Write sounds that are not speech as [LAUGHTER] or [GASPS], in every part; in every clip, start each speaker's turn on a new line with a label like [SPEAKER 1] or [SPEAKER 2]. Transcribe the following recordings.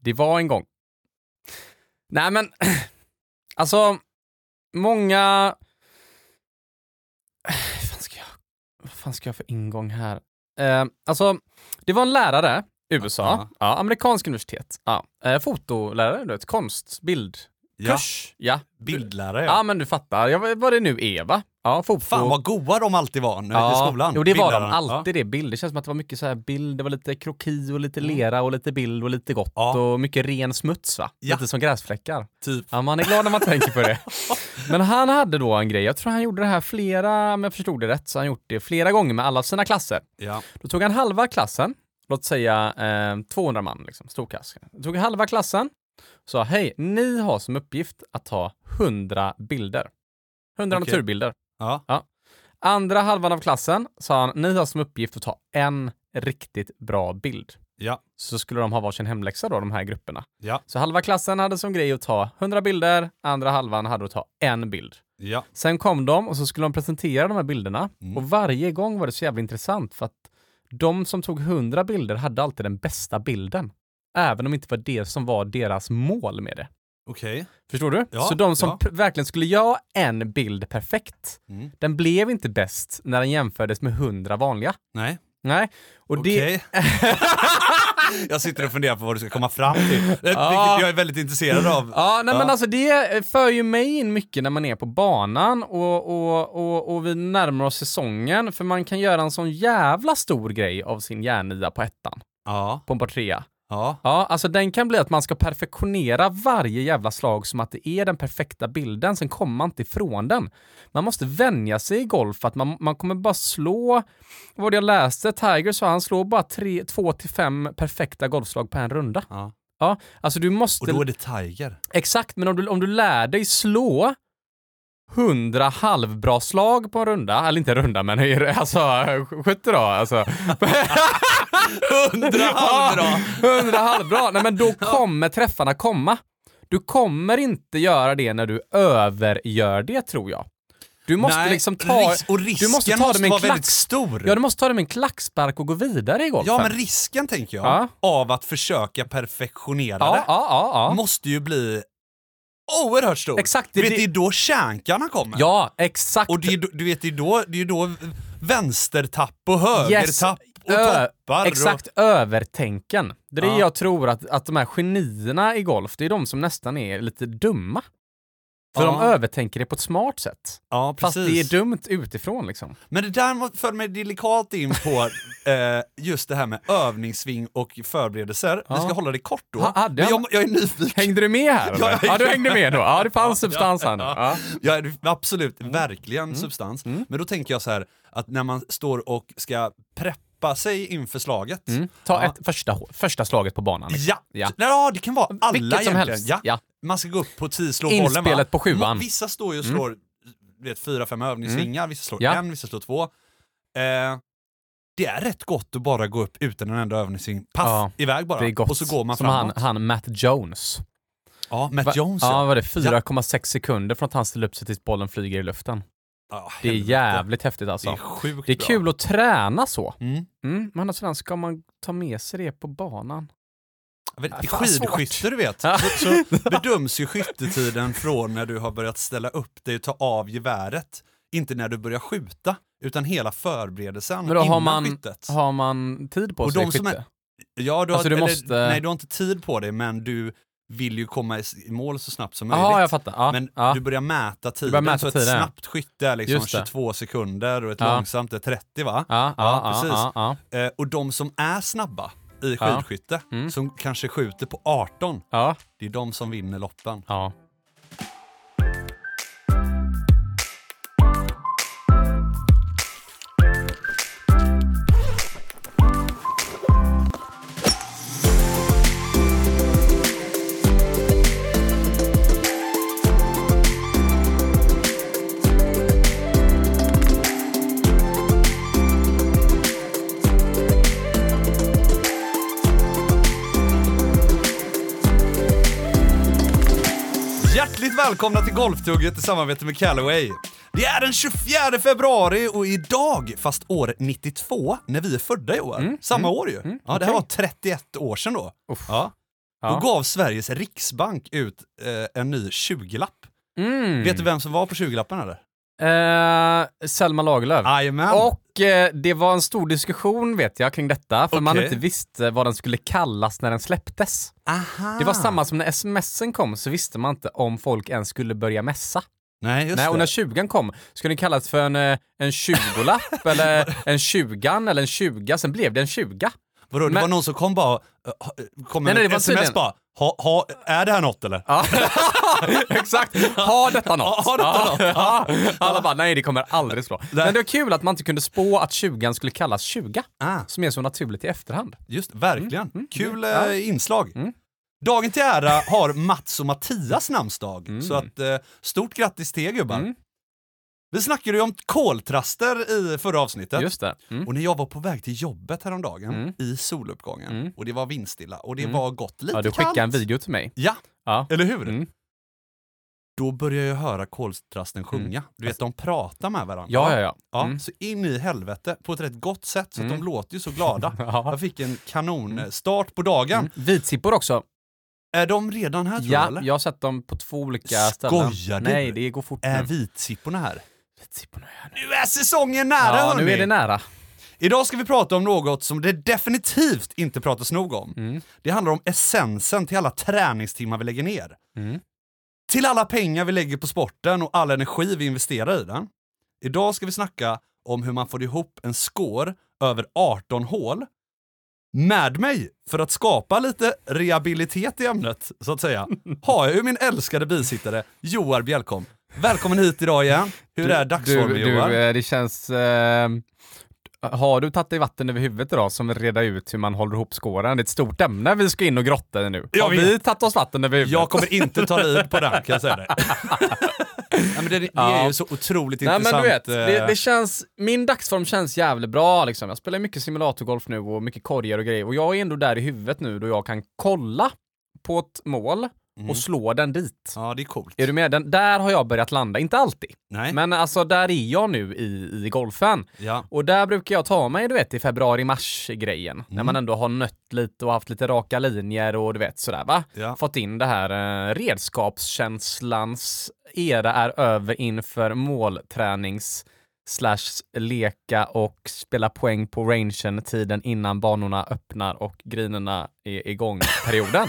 [SPEAKER 1] Det var en gång. Nej men, [CLEARS THROAT] alltså, många... [SIGHS] Vad fan ska jag, vad fan ska jag ha för ingång här? Eh, alltså, det var en lärare i USA,
[SPEAKER 2] Ja.
[SPEAKER 1] ja, amerikansk universitet, ja, eh, fotolärare, du vet, konst, bild,
[SPEAKER 2] Ja,
[SPEAKER 1] kurs. Ja.
[SPEAKER 2] bildlärare.
[SPEAKER 1] ja,
[SPEAKER 2] Ja.
[SPEAKER 1] men du fattar, ja, vad- vad det nu är va? Ja, foto.
[SPEAKER 2] Fan vad goa de alltid var när vi gick i skolan.
[SPEAKER 1] Jo, det var de.
[SPEAKER 2] Bildlärarna.
[SPEAKER 1] Alltid det. Bild. Det känns som att det var mycket så här bild, det var lite kroki och lite lera och lite bild och lite gott
[SPEAKER 2] Mm. Ja.
[SPEAKER 1] och mycket ren smuts va?
[SPEAKER 2] Ja.
[SPEAKER 1] Lite som gräsfläckar.
[SPEAKER 2] Ja, typ.
[SPEAKER 1] Ja, man är glad när man tänker på
[SPEAKER 2] [LAUGHS]
[SPEAKER 1] det. Men han hade då en grej, jag tror han gjorde det här flera, om jag förstod det rätt, så har han gjort det flera gånger med alla sina klasser.
[SPEAKER 2] Ja.
[SPEAKER 1] Då tog han halva klassen, låt säga eh, 200 man, liksom, stor klass. Då tog han halva klassen och sa hej, ni har som uppgift att ta 100 bilder. 100
[SPEAKER 2] Okej.
[SPEAKER 1] naturbilder.
[SPEAKER 2] Ja.
[SPEAKER 1] Andra halvan av klassen sa han, ni har som uppgift att ta en riktigt bra bild.
[SPEAKER 2] Ja.
[SPEAKER 1] Så skulle de ha varsin hemläxa då, de här grupperna.
[SPEAKER 2] Ja.
[SPEAKER 1] Så halva klassen hade som grej att ta 100 bilder, andra halvan hade att ta en bild.
[SPEAKER 2] Ja.
[SPEAKER 1] Sen kom de och så skulle de presentera de här bilderna
[SPEAKER 2] Mm.
[SPEAKER 1] och varje gång var det så jävla intressant för att de som tog 100 bilder hade alltid den bästa bilden. Även om det inte var det som var deras mål med det.
[SPEAKER 2] Okej.
[SPEAKER 1] Förstår du?
[SPEAKER 2] Ja,
[SPEAKER 1] så de som
[SPEAKER 2] ja.
[SPEAKER 1] pr- verkligen skulle göra en bild perfekt,
[SPEAKER 2] Mm.
[SPEAKER 1] den blev inte bäst när den jämfördes med 100 vanliga.
[SPEAKER 2] Nej.
[SPEAKER 1] Nej, och det...
[SPEAKER 2] [LAUGHS] Okej. jag sitter och funderar på vad du ska komma fram till. Eh, Vilket jag är väldigt intresserad av.
[SPEAKER 1] Ja, nej, men
[SPEAKER 2] Ja.
[SPEAKER 1] alltså det för ju mig in mycket när man är på banan och, och, och, och vi närmar oss säsongen, för man kan göra en sån jävla stor grej av sin järnia på ettan,
[SPEAKER 2] Ja.
[SPEAKER 1] på en par trea.
[SPEAKER 2] Ja.
[SPEAKER 1] Ja, alltså den kan bli att man ska perfektionera varje jävla slag som att det är den perfekta bilden, sen kommer man inte ifrån den. Man måste vänja sig i golf att man, man kommer bara slå, vad var det jag läste, Tiger sa han slår bara tre, två till fem perfekta golfslag på en runda.
[SPEAKER 2] ja.
[SPEAKER 1] Ja, alltså du måste...
[SPEAKER 2] Och då är det Tiger.
[SPEAKER 1] Exakt, men om du, om du lär dig slå 100 halvbra slag på en runda, eller inte en runda men hur- alltså 70 då alltså.
[SPEAKER 2] Hundra halvbra!
[SPEAKER 1] 100 halvbra, nej
[SPEAKER 2] [LAUGHS]
[SPEAKER 1] men då kommer träffarna komma. Du kommer inte göra det när du övergör det tror jag. Du måste
[SPEAKER 2] Nej,
[SPEAKER 1] liksom ta...
[SPEAKER 2] ris- och risken
[SPEAKER 1] du måste ta det med en
[SPEAKER 2] vara väldigt
[SPEAKER 1] klack.
[SPEAKER 2] stor.
[SPEAKER 1] Ja, du måste ta det med en klackspark och gå vidare i golfen.
[SPEAKER 2] Ja, men risken tänker jag,
[SPEAKER 1] Ja.
[SPEAKER 2] av att försöka perfektionera
[SPEAKER 1] ja,
[SPEAKER 2] det,
[SPEAKER 1] ja, ja, ja.
[SPEAKER 2] måste ju bli oerhört stor.
[SPEAKER 1] Exakt, det-
[SPEAKER 2] det, vet,
[SPEAKER 1] det-
[SPEAKER 2] det är då kärnkarna kommer.
[SPEAKER 1] Ja, exakt.
[SPEAKER 2] Och det är, då- du vet, det är då, det är då vänstertapp och högertapp och
[SPEAKER 1] Ö,
[SPEAKER 2] toppar.
[SPEAKER 1] Exakt, övertänken. Det är det
[SPEAKER 2] Ja.
[SPEAKER 1] jag tror att, att de här genierna i golf, det är de som nästan är lite dumma. För
[SPEAKER 2] Ja.
[SPEAKER 1] de övertänker det på ett smart sätt.
[SPEAKER 2] Och, ja,
[SPEAKER 1] Fast
[SPEAKER 2] precis.
[SPEAKER 1] det är dumt utifrån liksom.
[SPEAKER 2] Men det där må- för mig delikat in
[SPEAKER 1] [LAUGHS]
[SPEAKER 2] på eh, just det här med övningssving och förberedelser. Vi ska hålla det kort då.
[SPEAKER 1] Ha- hade
[SPEAKER 2] Men
[SPEAKER 1] jag-
[SPEAKER 2] jag, jag är nyfiken.
[SPEAKER 1] Hängde du med
[SPEAKER 2] [LAUGHS]
[SPEAKER 1] här?
[SPEAKER 2] Ja,
[SPEAKER 1] eller?
[SPEAKER 2] jag
[SPEAKER 1] ja, du
[SPEAKER 2] hängde
[SPEAKER 1] hängde med då. Ja, det fanns substans här nu.
[SPEAKER 2] ja.
[SPEAKER 1] Ja.
[SPEAKER 2] Ja, det- absolut,
[SPEAKER 1] Mm.
[SPEAKER 2] verkligen substans. Men då tänker jag så här, att när man står och ska preppa sig inför slaget.
[SPEAKER 1] Mm. Ta
[SPEAKER 2] Ja.
[SPEAKER 1] ett första, hå- första slaget på banan.
[SPEAKER 2] Ja.
[SPEAKER 1] Ja.
[SPEAKER 2] Ja. ja, det kan vara alla
[SPEAKER 1] Vilket som
[SPEAKER 2] egentligen.
[SPEAKER 1] helst.
[SPEAKER 2] Ja.
[SPEAKER 1] Ja.
[SPEAKER 2] Man ska gå upp på tio slå bollen Mm, va?
[SPEAKER 1] Inspelet på sjuan. Mm.
[SPEAKER 2] Må- Vissa står ju och slår du vet, fyra, fem övningssvingar, vissa slår
[SPEAKER 1] Ja.
[SPEAKER 2] en, vissa slår två. Eh, det är rätt gott att bara gå upp utan en enda övningssving. Paff,
[SPEAKER 1] Ja,
[SPEAKER 2] iväg bara.
[SPEAKER 1] Det är gott.
[SPEAKER 2] Och så går man
[SPEAKER 1] Som han,
[SPEAKER 2] framåt.
[SPEAKER 1] han Matt Jones.
[SPEAKER 2] Ja, Matt
[SPEAKER 1] Va-
[SPEAKER 2] Jones
[SPEAKER 1] Ja,
[SPEAKER 2] ja.
[SPEAKER 1] vad var det? 4,6 sekunder från att han ställer upp sig tills bollen flyger i luften.
[SPEAKER 2] Ja, Ah,
[SPEAKER 1] Det är
[SPEAKER 2] helvete.
[SPEAKER 1] jävligt häftigt alltså.
[SPEAKER 2] Det är sjukt
[SPEAKER 1] Det är
[SPEAKER 2] bra.
[SPEAKER 1] kul att träna så.
[SPEAKER 2] Mm.
[SPEAKER 1] Mm, men å andra sidan ska man ta med sig det på banan.
[SPEAKER 2] Jag vet,
[SPEAKER 1] Fan,
[SPEAKER 2] Skidskytte
[SPEAKER 1] svårt.
[SPEAKER 2] du
[SPEAKER 1] [LAUGHS]
[SPEAKER 2] vet,
[SPEAKER 1] Ja.
[SPEAKER 2] så, så bedöms ju skyttetiden från när du har börjat ställa upp dig och ta av geväret. Inte när du börjar skjuta, utan hela förberedelsen
[SPEAKER 1] Men då har
[SPEAKER 2] innan
[SPEAKER 1] man,
[SPEAKER 2] skyttet.
[SPEAKER 1] har man tid på
[SPEAKER 2] Och
[SPEAKER 1] sig
[SPEAKER 2] de
[SPEAKER 1] i
[SPEAKER 2] som
[SPEAKER 1] skytte?
[SPEAKER 2] Ja, du,
[SPEAKER 1] Alltså,
[SPEAKER 2] har,
[SPEAKER 1] du
[SPEAKER 2] eller,
[SPEAKER 1] måste-
[SPEAKER 2] Nej, du har inte tid på det, men du vill ju komma i s- i mål så snabbt som möjligt.
[SPEAKER 1] Jaha, jag fattar. Ja,
[SPEAKER 2] Men
[SPEAKER 1] ja.
[SPEAKER 2] du börjar mäta tiden,
[SPEAKER 1] mäta
[SPEAKER 2] så ett
[SPEAKER 1] tiden, ja.
[SPEAKER 2] snabbt skytte är liksom
[SPEAKER 1] Just det.
[SPEAKER 2] 22 sekunder och ett
[SPEAKER 1] Ja.
[SPEAKER 2] långsamt är 30 va?
[SPEAKER 1] ja, ja,
[SPEAKER 2] Ja,
[SPEAKER 1] ja,
[SPEAKER 2] precis.
[SPEAKER 1] ja, ja,
[SPEAKER 2] Eh, och de som är snabba i
[SPEAKER 1] Ja.
[SPEAKER 2] skidskytte,
[SPEAKER 1] Mm.
[SPEAKER 2] som kanske skjuter på 18,
[SPEAKER 1] ja,
[SPEAKER 2] det är de som vinner loppen.
[SPEAKER 1] ja.
[SPEAKER 2] Hjärtligt välkomna till Golftugget i samarbete med Callaway. Det är den 24 februari och idag, fast år
[SPEAKER 1] Mm,
[SPEAKER 2] 92, när vi är födda i år. Samma år ju. ja, det här var 31 år sedan då.
[SPEAKER 1] Uff.
[SPEAKER 2] Ja.
[SPEAKER 1] Ja.
[SPEAKER 2] Då gav Sveriges riksbank ut eh, en ny 20-lapp.
[SPEAKER 1] Mm.
[SPEAKER 2] Vet du vem som var på 20-lappen eller?
[SPEAKER 1] Eh, Selma Lagerlöf.
[SPEAKER 2] Jajamän!
[SPEAKER 1] Och eh, det var en stor diskussion vet jag kring detta, för man
[SPEAKER 2] Okej.
[SPEAKER 1] inte visste vad den skulle kallas när den släpptes.
[SPEAKER 2] Aha.
[SPEAKER 1] Det var samma som när smsen kom så visste man inte om folk ens skulle börja mässa.
[SPEAKER 2] Nej, just
[SPEAKER 1] Nej, och
[SPEAKER 2] det.
[SPEAKER 1] när 20 kom, skulle den kallas för en, eh, en
[SPEAKER 2] [LAUGHS]
[SPEAKER 1] 20-lapp eller en 20 eller en 20 sen blev det en 20
[SPEAKER 2] Vadå, det
[SPEAKER 1] men-
[SPEAKER 2] var någon som kom bara, eh, ha- kom
[SPEAKER 1] Nej, nej,
[SPEAKER 2] med
[SPEAKER 1] det
[SPEAKER 2] ett
[SPEAKER 1] var
[SPEAKER 2] sms
[SPEAKER 1] tydligen-
[SPEAKER 2] bara, ha, ha, är det här något eller?
[SPEAKER 1] Ja, [LAUGHS] exakt. Har detta något?
[SPEAKER 2] Har detta något?
[SPEAKER 1] Ja. Alla bara, nej det kommer aldrig slå. Men det var kul att man inte kunde spå att 20 skulle kallas 20,
[SPEAKER 2] Ah.
[SPEAKER 1] som är så naturligt i efterhand.
[SPEAKER 2] Just verkligen.
[SPEAKER 1] Mm,
[SPEAKER 2] Kul eh, inslag. Dagen till ära har Mats och Mattias namnsdag,
[SPEAKER 1] Mm.
[SPEAKER 2] så att eh, stort grattis till er gubbar. Vi snackade ju om koltraster i förra avsnittet.
[SPEAKER 1] Just det. Mm.
[SPEAKER 2] Och när jag var på väg till jobbet häromdagen
[SPEAKER 1] Mm.
[SPEAKER 2] i soluppgången
[SPEAKER 1] Mm.
[SPEAKER 2] och det var vindstilla och det
[SPEAKER 1] Mm.
[SPEAKER 2] var gott lite
[SPEAKER 1] Ja, du
[SPEAKER 2] kallt.
[SPEAKER 1] skickade en video till mig.
[SPEAKER 2] Ja,
[SPEAKER 1] Ja.
[SPEAKER 2] eller hur?
[SPEAKER 1] Mm.
[SPEAKER 2] Då började jag höra koltrasten sjunga. Du vet, de pratar med varandra.
[SPEAKER 1] Mm. Ja, ja, ja.
[SPEAKER 2] Ja,
[SPEAKER 1] Mm.
[SPEAKER 2] Så in i helvete på ett rätt gott sätt så att
[SPEAKER 1] Mm.
[SPEAKER 2] de låter ju så
[SPEAKER 1] [LAUGHS]
[SPEAKER 2] glada.
[SPEAKER 1] ja.
[SPEAKER 2] Jag fick en kanonstart på dagen.
[SPEAKER 1] Mm. Vitsippor också.
[SPEAKER 2] Är de redan här tror du,
[SPEAKER 1] Ja,
[SPEAKER 2] eller?
[SPEAKER 1] jag har sett dem på två olika
[SPEAKER 2] Skojar
[SPEAKER 1] ställen.
[SPEAKER 2] du?
[SPEAKER 1] Nej, det går fort
[SPEAKER 2] Är
[SPEAKER 1] nu.
[SPEAKER 2] vitsipporna här?
[SPEAKER 1] Vitsipporna är här nu.
[SPEAKER 2] Nu är säsongen nära
[SPEAKER 1] Ja,
[SPEAKER 2] hörni!
[SPEAKER 1] nu är det nära.
[SPEAKER 2] Idag ska vi prata om något som det definitivt inte pratas nog om.
[SPEAKER 1] Mm.
[SPEAKER 2] Det handlar om essensen till alla träningstimmar vi lägger ner.
[SPEAKER 1] Mm.
[SPEAKER 2] Till alla pengar vi lägger på sporten och all energi vi investerar i den. Idag ska vi snacka om hur man får ihop en score över 18 hål med mig för att skapa lite rehabilitet i ämnet, så
[SPEAKER 1] [LAUGHS]
[SPEAKER 2] att säga, har jag ju min älskade bisittare Joar Bjelkom. Välkommen hit idag igen. Hur är dagsformen
[SPEAKER 1] du, du,
[SPEAKER 2] Joar?
[SPEAKER 1] eh, Det känns... Eh, har du tagit dig vatten över huvudet idag som vill reda ut hur man håller ihop skåren? Det är ett stort ämne vi ska in och grotta i nu.
[SPEAKER 2] Jag
[SPEAKER 1] har
[SPEAKER 2] vet.
[SPEAKER 1] vi tagit oss vatten över huvudet?
[SPEAKER 2] Jag kommer inte ta lid på den kan jag säga dig. Nej, men det, det är ju så otroligt
[SPEAKER 1] Nej men
[SPEAKER 2] intressant.
[SPEAKER 1] du vet,
[SPEAKER 2] eh,
[SPEAKER 1] det, det känns, min dagsform känns jävligt bra liksom. Jag spelar mycket simulatorgolf nu och mycket korgar och grejer och jag är ändå där i huvudet nu då jag kan kolla på ett mål och slå den dit.
[SPEAKER 2] Mhm. Ja, det är coolt.
[SPEAKER 1] Är du med? Den, där har jag börjat landa, inte alltid.
[SPEAKER 2] Nej,
[SPEAKER 1] Men alltså där är jag nu i, i golfen.
[SPEAKER 2] ja.
[SPEAKER 1] Och där brukar jag ta mig, du vet, i februari-mars-grejen. När man ändå har nött lite och haft lite raka linjer och du vet sådär va.
[SPEAKER 2] Ja.
[SPEAKER 1] Fått in det här eh, redskapskänslans era är över inför måltränings slash leka och spela poäng på rangen tiden innan banorna öppnar och greenerna är igång perioden.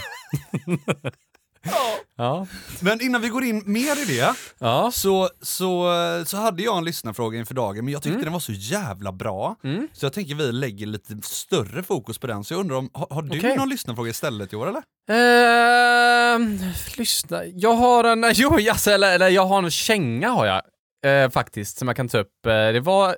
[SPEAKER 1] ja.
[SPEAKER 2] Men innan vi går in mer i det
[SPEAKER 1] Ja.
[SPEAKER 2] så, så, så hade jag en lyssnarfråga inför dagen men jag tyckte den var så jävla bra
[SPEAKER 1] Mm.
[SPEAKER 2] så jag tänker vi lägger lite större fokus på den så jag undrar om, har, har du
[SPEAKER 1] Okej.
[SPEAKER 2] någon lyssnarfråga istället Joar eller?
[SPEAKER 1] Ehm, lyssna, jag har en, [LAUGHS] jo, jaså, eller, eller jag har en känga har jag eh, faktiskt som jag kan ta upp. Eh, det var,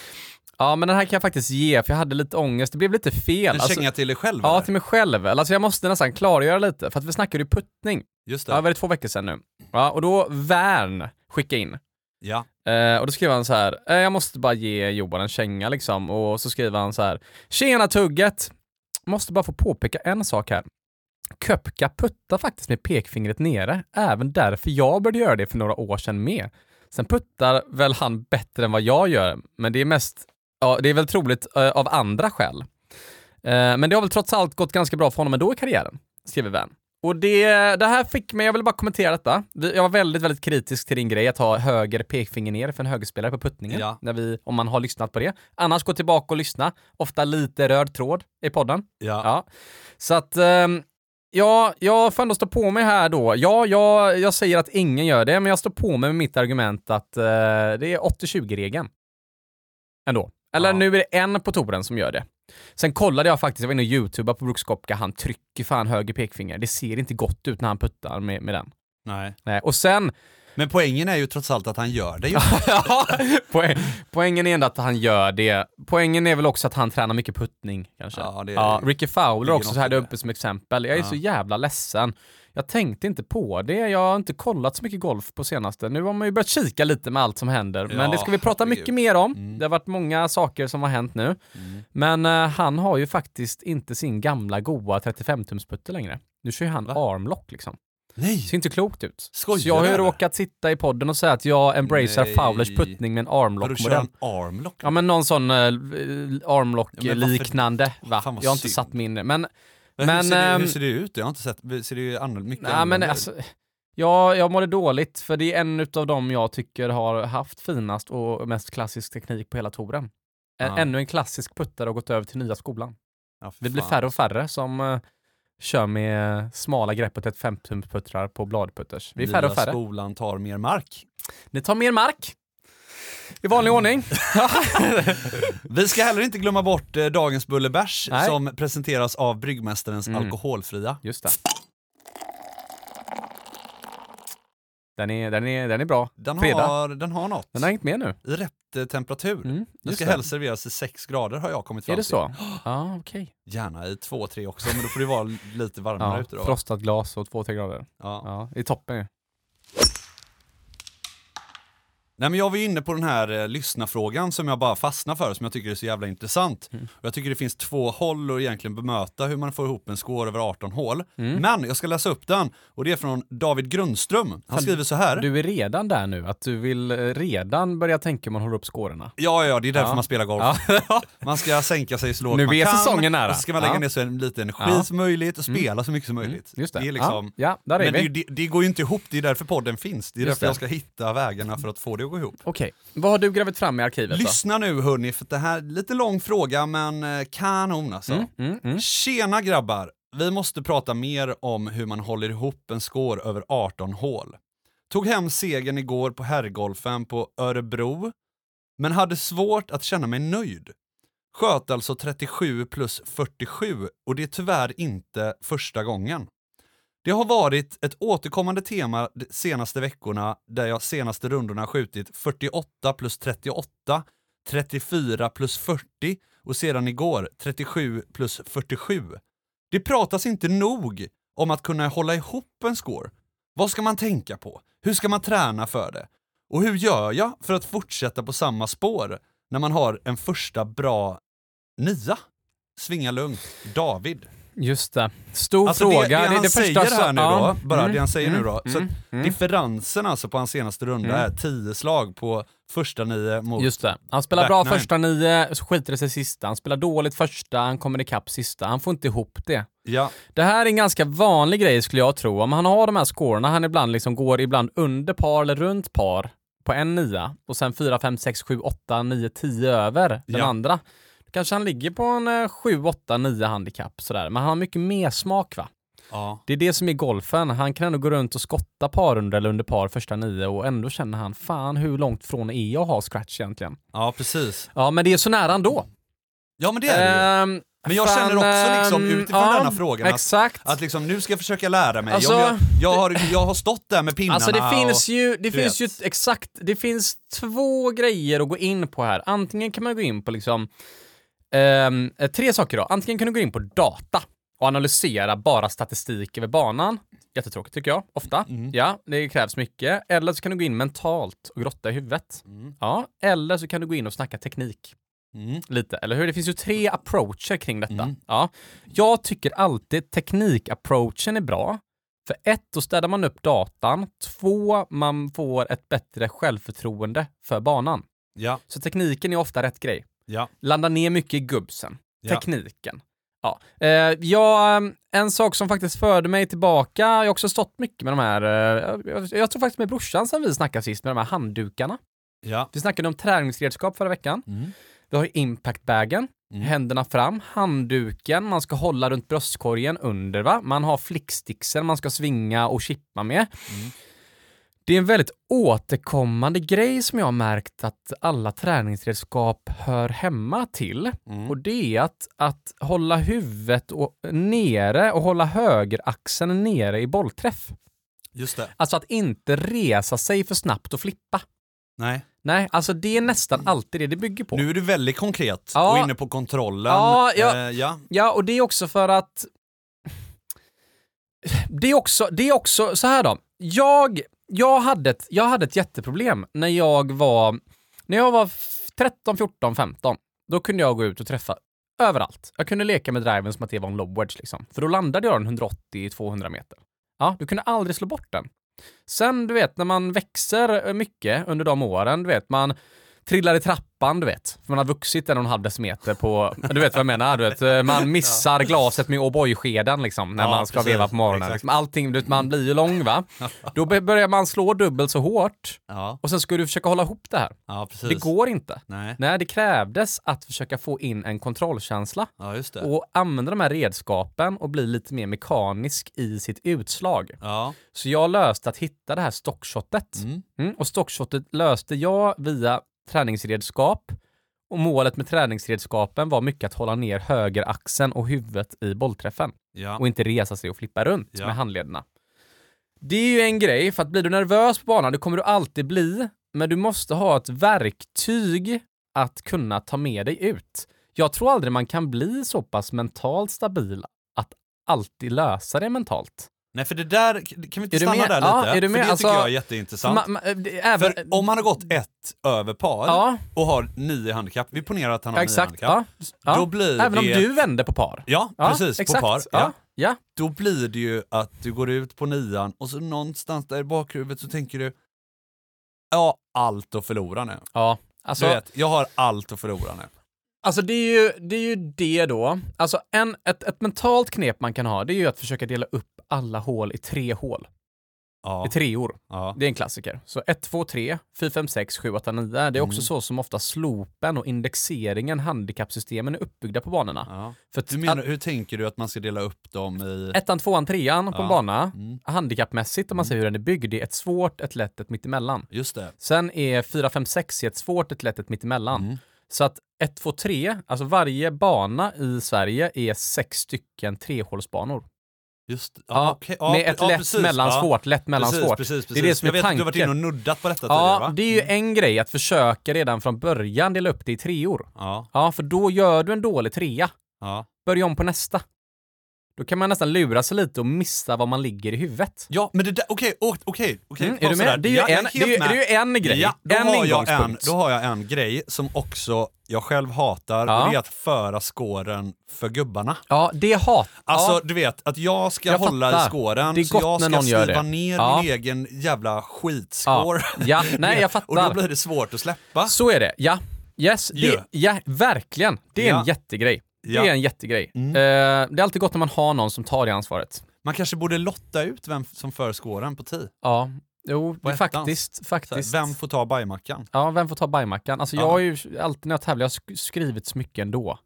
[SPEAKER 1] [LAUGHS] ja men den här kan jag faktiskt ge för jag hade lite ångest, det blev lite fel.
[SPEAKER 2] En
[SPEAKER 1] Alltså,
[SPEAKER 2] känga till dig själv
[SPEAKER 1] ja,
[SPEAKER 2] eller?
[SPEAKER 1] till mig själv. Alltså jag måste nästan klargöra lite, för att vi snackade ju puttning,
[SPEAKER 2] Just
[SPEAKER 1] ja,
[SPEAKER 2] det.
[SPEAKER 1] var det två veckor sedan nu? Ja, och då Värn skickade in.
[SPEAKER 2] Ja.
[SPEAKER 1] Eh, och då skriver han så här, eh, jag måste bara ge Johan en känga liksom. Och så skriver han så här, tjena tugget! Måste bara få påpeka en sak här. Köpka puttar faktiskt med pekfingret nere, även därför jag började göra det för några år sedan med. Sen puttar väl han bättre än vad jag gör, men det är mest, ja det är väl troligt eh, av andra skäl. Eh, men det har väl trots allt gått ganska bra för honom ändå i karriären, skriver Vän. Och det, det här fick mig, jag vill bara kommentera detta. Vi- Jag var väldigt, väldigt kritisk till din grej att ha höger pekfinger ner för en högerspelare på puttningen.
[SPEAKER 2] Ja.
[SPEAKER 1] När vi, om man har lyssnat på det. Annars gå tillbaka och lyssna. Ofta lite röd tråd i podden.
[SPEAKER 2] Ja.
[SPEAKER 1] Ja. Så att, ehm, ja, jag får ändå stå på mig här då. Ja, jag, jag säger att ingen gör det, men jag står på mig med mitt argument att eh, det är 80-20-regeln. Ändå. Eller
[SPEAKER 2] Ja.
[SPEAKER 1] nu är det en på touren som gör det. Sen kollade jag faktiskt, jag var inne och youtubade på Brooks Koepka, han trycker fan höger pekfinger. Det ser inte gott ut när han puttar med, med den.
[SPEAKER 2] Nej.
[SPEAKER 1] Nej. Och sen,
[SPEAKER 2] Men poängen är ju trots allt att han gör det ju.
[SPEAKER 1] Ja, poäng, poängen är ändå att han gör det. Poängen är väl också att han tränar mycket puttning kanske.
[SPEAKER 2] Ja, det är-
[SPEAKER 1] Ricky Fowler
[SPEAKER 2] ligger
[SPEAKER 1] också,
[SPEAKER 2] något
[SPEAKER 1] så här
[SPEAKER 2] i det.
[SPEAKER 1] uppe som exempel. Jag är
[SPEAKER 2] Ja.
[SPEAKER 1] så jävla ledsen. Jag tänkte inte på det. Jag har inte kollat så mycket golf på senaste. Nu har man ju börjat kika lite med allt som händer. Men
[SPEAKER 2] Ja,
[SPEAKER 1] det ska vi prata
[SPEAKER 2] herregud.
[SPEAKER 1] mycket mer om.
[SPEAKER 2] Mm.
[SPEAKER 1] Det har varit många saker som har hänt nu.
[SPEAKER 2] Mm.
[SPEAKER 1] Men eh, han har ju faktiskt inte sin gamla goa 35-tumsputter längre. Nu kör ju han
[SPEAKER 2] Va?
[SPEAKER 1] armlock liksom.
[SPEAKER 2] Nej!
[SPEAKER 1] Det ser inte klokt ut.
[SPEAKER 2] Skojar
[SPEAKER 1] så jag har ju
[SPEAKER 2] du, eller?
[SPEAKER 1] råkat sitta i podden och säga att jag embracear
[SPEAKER 2] Nej.
[SPEAKER 1] Fowlers puttning med en
[SPEAKER 2] Har du
[SPEAKER 1] armlock
[SPEAKER 2] kört
[SPEAKER 1] modell.
[SPEAKER 2] en armlock?
[SPEAKER 1] Ja men någon sån eh,
[SPEAKER 2] Ja, men varför-
[SPEAKER 1] armlock-liknande va?
[SPEAKER 2] Fan, vad
[SPEAKER 1] Jag har inte
[SPEAKER 2] synd.
[SPEAKER 1] satt min... Men
[SPEAKER 2] Men, hur,
[SPEAKER 1] Men,
[SPEAKER 2] ser det, hur
[SPEAKER 1] ehm,
[SPEAKER 2] ser det ut? Jag har inte sett, ser det ju annorlunda mycket
[SPEAKER 1] Nej, men
[SPEAKER 2] annorlunda ut?
[SPEAKER 1] alltså, ja, jag mådde dåligt för det är en av dem jag tycker har haft finast och mest klassisk teknik på hela touren. Ä-
[SPEAKER 2] Ja.
[SPEAKER 1] Ännu en klassisk puttare har gått över till nya skolan.
[SPEAKER 2] Ja, för
[SPEAKER 1] Det blir
[SPEAKER 2] fan.
[SPEAKER 1] färre och färre som eh, kör med eh, smala greppet ett 5-tumsputtrar på bladputters. Vi är färre och
[SPEAKER 2] Nya
[SPEAKER 1] färre.
[SPEAKER 2] skolan tar mer mark.
[SPEAKER 1] Ni tar mer mark. I vanlig ordning.
[SPEAKER 2] Vi ska heller inte glömma bort eh, dagens Bullerbärs
[SPEAKER 1] Nej.
[SPEAKER 2] som presenteras av Bryggmästarens
[SPEAKER 1] Mm.
[SPEAKER 2] alkoholfria.
[SPEAKER 1] Just det. Den är, den är, den är bra.
[SPEAKER 2] Den
[SPEAKER 1] Fredag.
[SPEAKER 2] har, den har något
[SPEAKER 1] Den har hängt med nu.
[SPEAKER 2] i rätt eh, temperatur.
[SPEAKER 1] Mm,
[SPEAKER 2] Den
[SPEAKER 1] just
[SPEAKER 2] ska
[SPEAKER 1] det.
[SPEAKER 2] helst serveras i 6 grader har jag kommit fram
[SPEAKER 1] Är det
[SPEAKER 2] till.
[SPEAKER 1] så? [GASPS] Ja, okej.
[SPEAKER 2] Gärna i 2-3 också, men då får det vara [LAUGHS] lite varmare
[SPEAKER 1] Ja,
[SPEAKER 2] ute då.
[SPEAKER 1] frostat glas och 2-3 grader.
[SPEAKER 2] Ja.
[SPEAKER 1] Ja, i toppen ju.
[SPEAKER 2] Nej, men jag var ju inne på den här eh, lyssnafrågan som jag bara fastnar för, som jag tycker är så jävla intressant.
[SPEAKER 1] Mm.
[SPEAKER 2] Och jag tycker det finns två håll att egentligen bemöta hur man får ihop en score över 18 hål.
[SPEAKER 1] Mm.
[SPEAKER 2] Men jag ska läsa upp den, och det är från David Grundström. Han skriver så här.
[SPEAKER 1] Du är redan där nu, att du vill eh, redan börja tänka hur man håller upp skårorna.
[SPEAKER 2] Ja, ja, det är därför
[SPEAKER 1] Ja. [LAUGHS]
[SPEAKER 2] man spelar golf. Man ska sänka sig så lågt
[SPEAKER 1] Nu
[SPEAKER 2] man
[SPEAKER 1] är
[SPEAKER 2] kan.
[SPEAKER 1] säsongen nära.
[SPEAKER 2] Och så ska man lägga
[SPEAKER 1] Ja.
[SPEAKER 2] ner så en- lite energi
[SPEAKER 1] Ja. Mm.
[SPEAKER 2] som möjligt och spela så mycket som möjligt.
[SPEAKER 1] Just det.
[SPEAKER 2] är liksom...
[SPEAKER 1] ja, ja, där är
[SPEAKER 2] Men det, är
[SPEAKER 1] vi.
[SPEAKER 2] ju- det, det går ju inte ihop, det är därför podden finns. Det är
[SPEAKER 1] Just
[SPEAKER 2] därför
[SPEAKER 1] det.
[SPEAKER 2] jag ska hitta vägarna för att få det att gå ihop.
[SPEAKER 1] Okej, vad har du grävt fram i arkivet då?
[SPEAKER 2] Lyssna nu hörni, för det här är lite lång fråga men eh, kanon alltså.
[SPEAKER 1] Mm, mm.
[SPEAKER 2] Tjena grabbar! Vi måste prata mer om hur man håller ihop en score över 18 hål. Tog hem segern igår på herrgolfen på Örebro, men hade svårt att känna mig nöjd. Sköt alltså 37 plus 47 och det är tyvärr inte första gången. Det har varit ett återkommande tema de senaste veckorna där jag senaste rundorna skjutit 48 plus 38, 34 plus 40 och sedan igår 37 plus 47. Det pratas inte nog om att kunna hålla ihop en score. Vad ska man tänka på? Hur ska man träna för det? Och hur gör jag för att fortsätta på samma spår när man har en första bra nia? Svinga lugnt, David.
[SPEAKER 1] Just det. Stor
[SPEAKER 2] Alltså det-
[SPEAKER 1] fråga.
[SPEAKER 2] det han säger
[SPEAKER 1] så-
[SPEAKER 2] här nu
[SPEAKER 1] ja.
[SPEAKER 2] då, bara det han säger nu då.
[SPEAKER 1] Mm.
[SPEAKER 2] Så att
[SPEAKER 1] mm.
[SPEAKER 2] Differensen alltså på hans senaste runda
[SPEAKER 1] Mm.
[SPEAKER 2] är 10 slag på första nio mot...
[SPEAKER 1] Just det. Han spelar
[SPEAKER 2] Back
[SPEAKER 1] bra
[SPEAKER 2] nine.
[SPEAKER 1] första nio, så skiter det sig sista. Han spelar dåligt första, han kommer ikapp sista. Han får inte ihop det.
[SPEAKER 2] Ja,
[SPEAKER 1] Det här är en ganska vanlig grej skulle jag tro. Om han har de här scorerna, han ibland liksom går ibland under par eller runt par på en nia och sen 4, 5, 6, 7, 8, 9, 10 över den
[SPEAKER 2] Ja.
[SPEAKER 1] andra. Då kanske han ligger på en eh, 7, 8, 9 handikapp sådär. Men han har mycket mer smak va?
[SPEAKER 2] ja.
[SPEAKER 1] Det är det som är golfen. Han kan ändå gå runt och skotta par under eller under par första nio och ändå känner han fan hur långt från är jag att ha scratch egentligen?
[SPEAKER 2] ja precis.
[SPEAKER 1] Ja, men det är så nära ändå.
[SPEAKER 2] Ja men det är det ju.
[SPEAKER 1] Ehm,
[SPEAKER 2] Men jag känner också liksom
[SPEAKER 1] ehm,
[SPEAKER 2] utifrån denna frågan att-
[SPEAKER 1] Exakt.
[SPEAKER 2] Att liksom, nu ska jag försöka lära mig.
[SPEAKER 1] Alltså-
[SPEAKER 2] Om jag, jag, har, jag har stått där med pinnarna
[SPEAKER 1] Alltså det finns
[SPEAKER 2] och...
[SPEAKER 1] ju, det
[SPEAKER 2] du
[SPEAKER 1] finns ju
[SPEAKER 2] vet.
[SPEAKER 1] exakt, det finns två grejer att gå in på här. Antingen kan man gå in på liksom, ehm, eh, tre saker då. Antingen kan du gå in på data och analysera bara statistik över banan. Jättetråkigt tycker jag, ofta.
[SPEAKER 2] Mm.
[SPEAKER 1] Ja, det krävs mycket. Eller så kan du gå in mentalt och grotta i huvudet. Ja, eller så kan du gå in och snacka teknik
[SPEAKER 2] Mm.
[SPEAKER 1] lite, eller hur? Det finns ju tre approacher kring detta. Ja. Jag tycker alltid teknikapproachen är bra. För ett, då städar man upp datan. Två, man får ett bättre självförtroende för banan.
[SPEAKER 2] Ja,
[SPEAKER 1] Så tekniken är ofta rätt grej.
[SPEAKER 2] ja,
[SPEAKER 1] Landa ner mycket i gubbsen.
[SPEAKER 2] Ja.
[SPEAKER 1] Tekniken. Ja. Eh, jag, en sak som faktiskt förde mig tillbaka, jag har också stått mycket med de här, eh, jag, jag tror faktiskt med brorsan sen vi snackade sist, med de här handdukarna.
[SPEAKER 2] ja.
[SPEAKER 1] Vi snackade om träningsredskap förra veckan.
[SPEAKER 2] Mm.
[SPEAKER 1] Vi har ju impactbagen, händerna fram, handduken, man ska hålla runt bröstkorgen under va? Man har flicksticksen man ska svinga och chippa med.
[SPEAKER 2] Mm.
[SPEAKER 1] Det är en väldigt återkommande grej som jag har märkt att alla träningsredskap hör hemma till.
[SPEAKER 2] Mm.
[SPEAKER 1] Och det är att, att hålla huvudet och, nere och hålla högeraxeln nere i bollträff.
[SPEAKER 2] Just det.
[SPEAKER 1] Alltså att inte resa sig för snabbt och flippa.
[SPEAKER 2] Nej.
[SPEAKER 1] Nej, alltså det är nästan alltid det det bygger på.
[SPEAKER 2] Nu är du väldigt konkret
[SPEAKER 1] Ja.
[SPEAKER 2] och inne på kontrollen.
[SPEAKER 1] Ja, ja.
[SPEAKER 2] Eh, ja.
[SPEAKER 1] Ja, och det är också för att... Det är också, det är också så här då. Jag, jag, hade ett, jag hade ett jätteproblem när jag var, när jag var f- 13, 14, 15. Då kunde jag gå ut och träffa överallt. Jag kunde leka med driven som att det var en low wedge liksom. För då landade jag den 180-200 meter. Ja, du kunde aldrig slå bort den. Sen, du vet, när man växer eh, mycket under de åren, du vet, man trillar i trappan, du vet. För man har vuxit en och en halv decimeter på... [LAUGHS] Du vet vad jag menar? Du vet, Eh, man missar glaset med O'boy-skeden liksom, när
[SPEAKER 2] Ja,
[SPEAKER 1] man ska
[SPEAKER 2] precis.
[SPEAKER 1] veva på morgonen.
[SPEAKER 2] Exakt.
[SPEAKER 1] Liksom, allting, du vet, man blir ju lång
[SPEAKER 2] [LAUGHS]
[SPEAKER 1] va? Då be- börjar man slå dubbelt så hårt
[SPEAKER 2] Ja,
[SPEAKER 1] och sen ska du försöka hålla ihop det här.
[SPEAKER 2] ja precis.
[SPEAKER 1] Det går inte.
[SPEAKER 2] Nej.
[SPEAKER 1] Nej, det krävdes att försöka få in en kontrollkänsla
[SPEAKER 2] Ja, just det.
[SPEAKER 1] och använda de här redskapen och bli lite mer mekanisk i sitt utslag.
[SPEAKER 2] Ja.
[SPEAKER 1] Så jag löste att hitta det här stockshotet.
[SPEAKER 2] Mm.
[SPEAKER 1] Mm, och stockshotet löste jag via träningsredskap. Och målet med träningsredskapen var mycket att hålla ner höger axeln och huvudet i bollträffen
[SPEAKER 2] Ja.
[SPEAKER 1] och inte resa sig och flippa runt
[SPEAKER 2] Ja.
[SPEAKER 1] med handlederna. Det är ju en grej, för att blir du nervös på banan, det kommer du alltid bli, men du måste ha ett verktyg att kunna ta med dig ut. Jag tror aldrig man kan bli så pass mentalt stabil att alltid lösa det mentalt.
[SPEAKER 2] Nej, för det där, kan vi inte
[SPEAKER 1] Är du
[SPEAKER 2] stanna
[SPEAKER 1] med?
[SPEAKER 2] där
[SPEAKER 1] Ja,
[SPEAKER 2] lite?
[SPEAKER 1] är du
[SPEAKER 2] För
[SPEAKER 1] med?
[SPEAKER 2] det
[SPEAKER 1] Alltså,
[SPEAKER 2] tycker jag är jätteintressant.
[SPEAKER 1] Ma- ma- det- även,
[SPEAKER 2] för om han har gått ett över par
[SPEAKER 1] Ja,
[SPEAKER 2] och har nio handikapp, vi ponerar att han har
[SPEAKER 1] ja,
[SPEAKER 2] nio
[SPEAKER 1] exakt.
[SPEAKER 2] handikapp,
[SPEAKER 1] Ja, ja.
[SPEAKER 2] då blir
[SPEAKER 1] Även om
[SPEAKER 2] det...
[SPEAKER 1] du vänder på par.
[SPEAKER 2] Ja,
[SPEAKER 1] Ja,
[SPEAKER 2] precis,
[SPEAKER 1] exakt.
[SPEAKER 2] på par. Ja.
[SPEAKER 1] Ja. Ja.
[SPEAKER 2] Då blir det ju att du går ut på nian och så någonstans där i bakhuvudet så tänker du, ja, allt att förlora nu.
[SPEAKER 1] ja.
[SPEAKER 2] Du
[SPEAKER 1] Alltså,
[SPEAKER 2] vet, jag har allt att förlora nu.
[SPEAKER 1] alltså det, är ju, det är ju det då. Alltså en, ett, ett mentalt knep man kan ha det är ju att försöka dela upp alla hål i tre hål.
[SPEAKER 2] Ja,
[SPEAKER 1] I treor.
[SPEAKER 2] ja,
[SPEAKER 1] Det är en klassiker. Så 1, 2, 3, 4, 5, 6, 7, 8, 9. Det är också
[SPEAKER 2] Mm.
[SPEAKER 1] så som ofta slopen och indexeringen, handikappsystemen är uppbyggda på banorna.
[SPEAKER 2] ja.
[SPEAKER 1] För att,
[SPEAKER 2] Du menar, hur tänker du att man ska dela upp dem i...
[SPEAKER 1] att ettan, tvåan, trean på en
[SPEAKER 2] Ja.
[SPEAKER 1] bana,
[SPEAKER 2] Mm,
[SPEAKER 1] handikappmässigt om man
[SPEAKER 2] Mm.
[SPEAKER 1] ser hur den är byggd, det är ett svårt, ett lätt, ett mittemellan.
[SPEAKER 2] just det.
[SPEAKER 1] Sen är 4, 5, 6 ett svårt, ett lätt, ett mittemellan.
[SPEAKER 2] Mm.
[SPEAKER 1] Så att 1, 2, 3, alltså varje bana i Sverige är sex stycken trehålsbanor.
[SPEAKER 2] Just det.
[SPEAKER 1] Ja,
[SPEAKER 2] Ah, okej. Ja,
[SPEAKER 1] med ett
[SPEAKER 2] ja,
[SPEAKER 1] lätt,
[SPEAKER 2] precis.
[SPEAKER 1] mellan,
[SPEAKER 2] Ja,
[SPEAKER 1] svårt, lätt, mellan,
[SPEAKER 2] precis,
[SPEAKER 1] svårt.
[SPEAKER 2] Precis, precis.
[SPEAKER 1] Det är det som
[SPEAKER 2] jag
[SPEAKER 1] är
[SPEAKER 2] vet att du har varit inne och
[SPEAKER 1] tanken.
[SPEAKER 2] nuddat på detta tidigare,
[SPEAKER 1] Ja,
[SPEAKER 2] va? Mm.
[SPEAKER 1] det är ju en grej att försöka redan från början dela upp det i treor.
[SPEAKER 2] Ja,
[SPEAKER 1] Ja, för då gör du en dålig trea.
[SPEAKER 2] ja.
[SPEAKER 1] Börja om på nästa. Då kan man nästan lura sig lite och missa var man ligger i huvudet.
[SPEAKER 2] Ja, men det där, okej, å- okej, okej.
[SPEAKER 1] Mm, är
[SPEAKER 2] paus
[SPEAKER 1] du med?
[SPEAKER 2] där.
[SPEAKER 1] Det är ju
[SPEAKER 2] Ja, jag
[SPEAKER 1] en,
[SPEAKER 2] helt
[SPEAKER 1] det är, ju- det
[SPEAKER 2] med.
[SPEAKER 1] är ju en grej.
[SPEAKER 2] Ja, då,
[SPEAKER 1] en
[SPEAKER 2] har jag en,
[SPEAKER 1] ingångspunkt.
[SPEAKER 2] då har jag en grej som också jag själv hatar,
[SPEAKER 1] Ja.
[SPEAKER 2] och det är att föra skåren för gubbarna.
[SPEAKER 1] Ja, det hat.
[SPEAKER 2] Alltså
[SPEAKER 1] ja.
[SPEAKER 2] du vet, att jag ska
[SPEAKER 1] Jag
[SPEAKER 2] hålla
[SPEAKER 1] fattar.
[SPEAKER 2] i skåren,
[SPEAKER 1] Det är
[SPEAKER 2] så
[SPEAKER 1] gott
[SPEAKER 2] jag
[SPEAKER 1] när
[SPEAKER 2] ska
[SPEAKER 1] någon gör
[SPEAKER 2] skriva
[SPEAKER 1] det.
[SPEAKER 2] ner
[SPEAKER 1] Ja.
[SPEAKER 2] min egen jävla skitscore.
[SPEAKER 1] Ja,
[SPEAKER 2] [LAUGHS]
[SPEAKER 1] ja. nej jag
[SPEAKER 2] och då
[SPEAKER 1] fattar.
[SPEAKER 2] blir det svårt att släppa.
[SPEAKER 1] Så är det, ja. Yes, det,
[SPEAKER 2] Ja.
[SPEAKER 1] ja, verkligen. Det är
[SPEAKER 2] Ja.
[SPEAKER 1] en jättegrej. Det
[SPEAKER 2] Ja.
[SPEAKER 1] är en jättegrej.
[SPEAKER 2] Mm.
[SPEAKER 1] Eh, det är alltid gott när man har någon som tar det ansvaret.
[SPEAKER 2] Man kanske borde lotta ut vem som för skåren på tid.
[SPEAKER 1] Ja, jo, det-
[SPEAKER 2] ettans.
[SPEAKER 1] faktiskt.
[SPEAKER 2] Så här,
[SPEAKER 1] faktiskt.
[SPEAKER 2] Vem får ta bajmackan?
[SPEAKER 1] Ja, vem får ta bajmackan? Alltså
[SPEAKER 2] Ja.
[SPEAKER 1] jag har ju alltid när jag tävlar, jag har sk- skrivit så mycket ändå.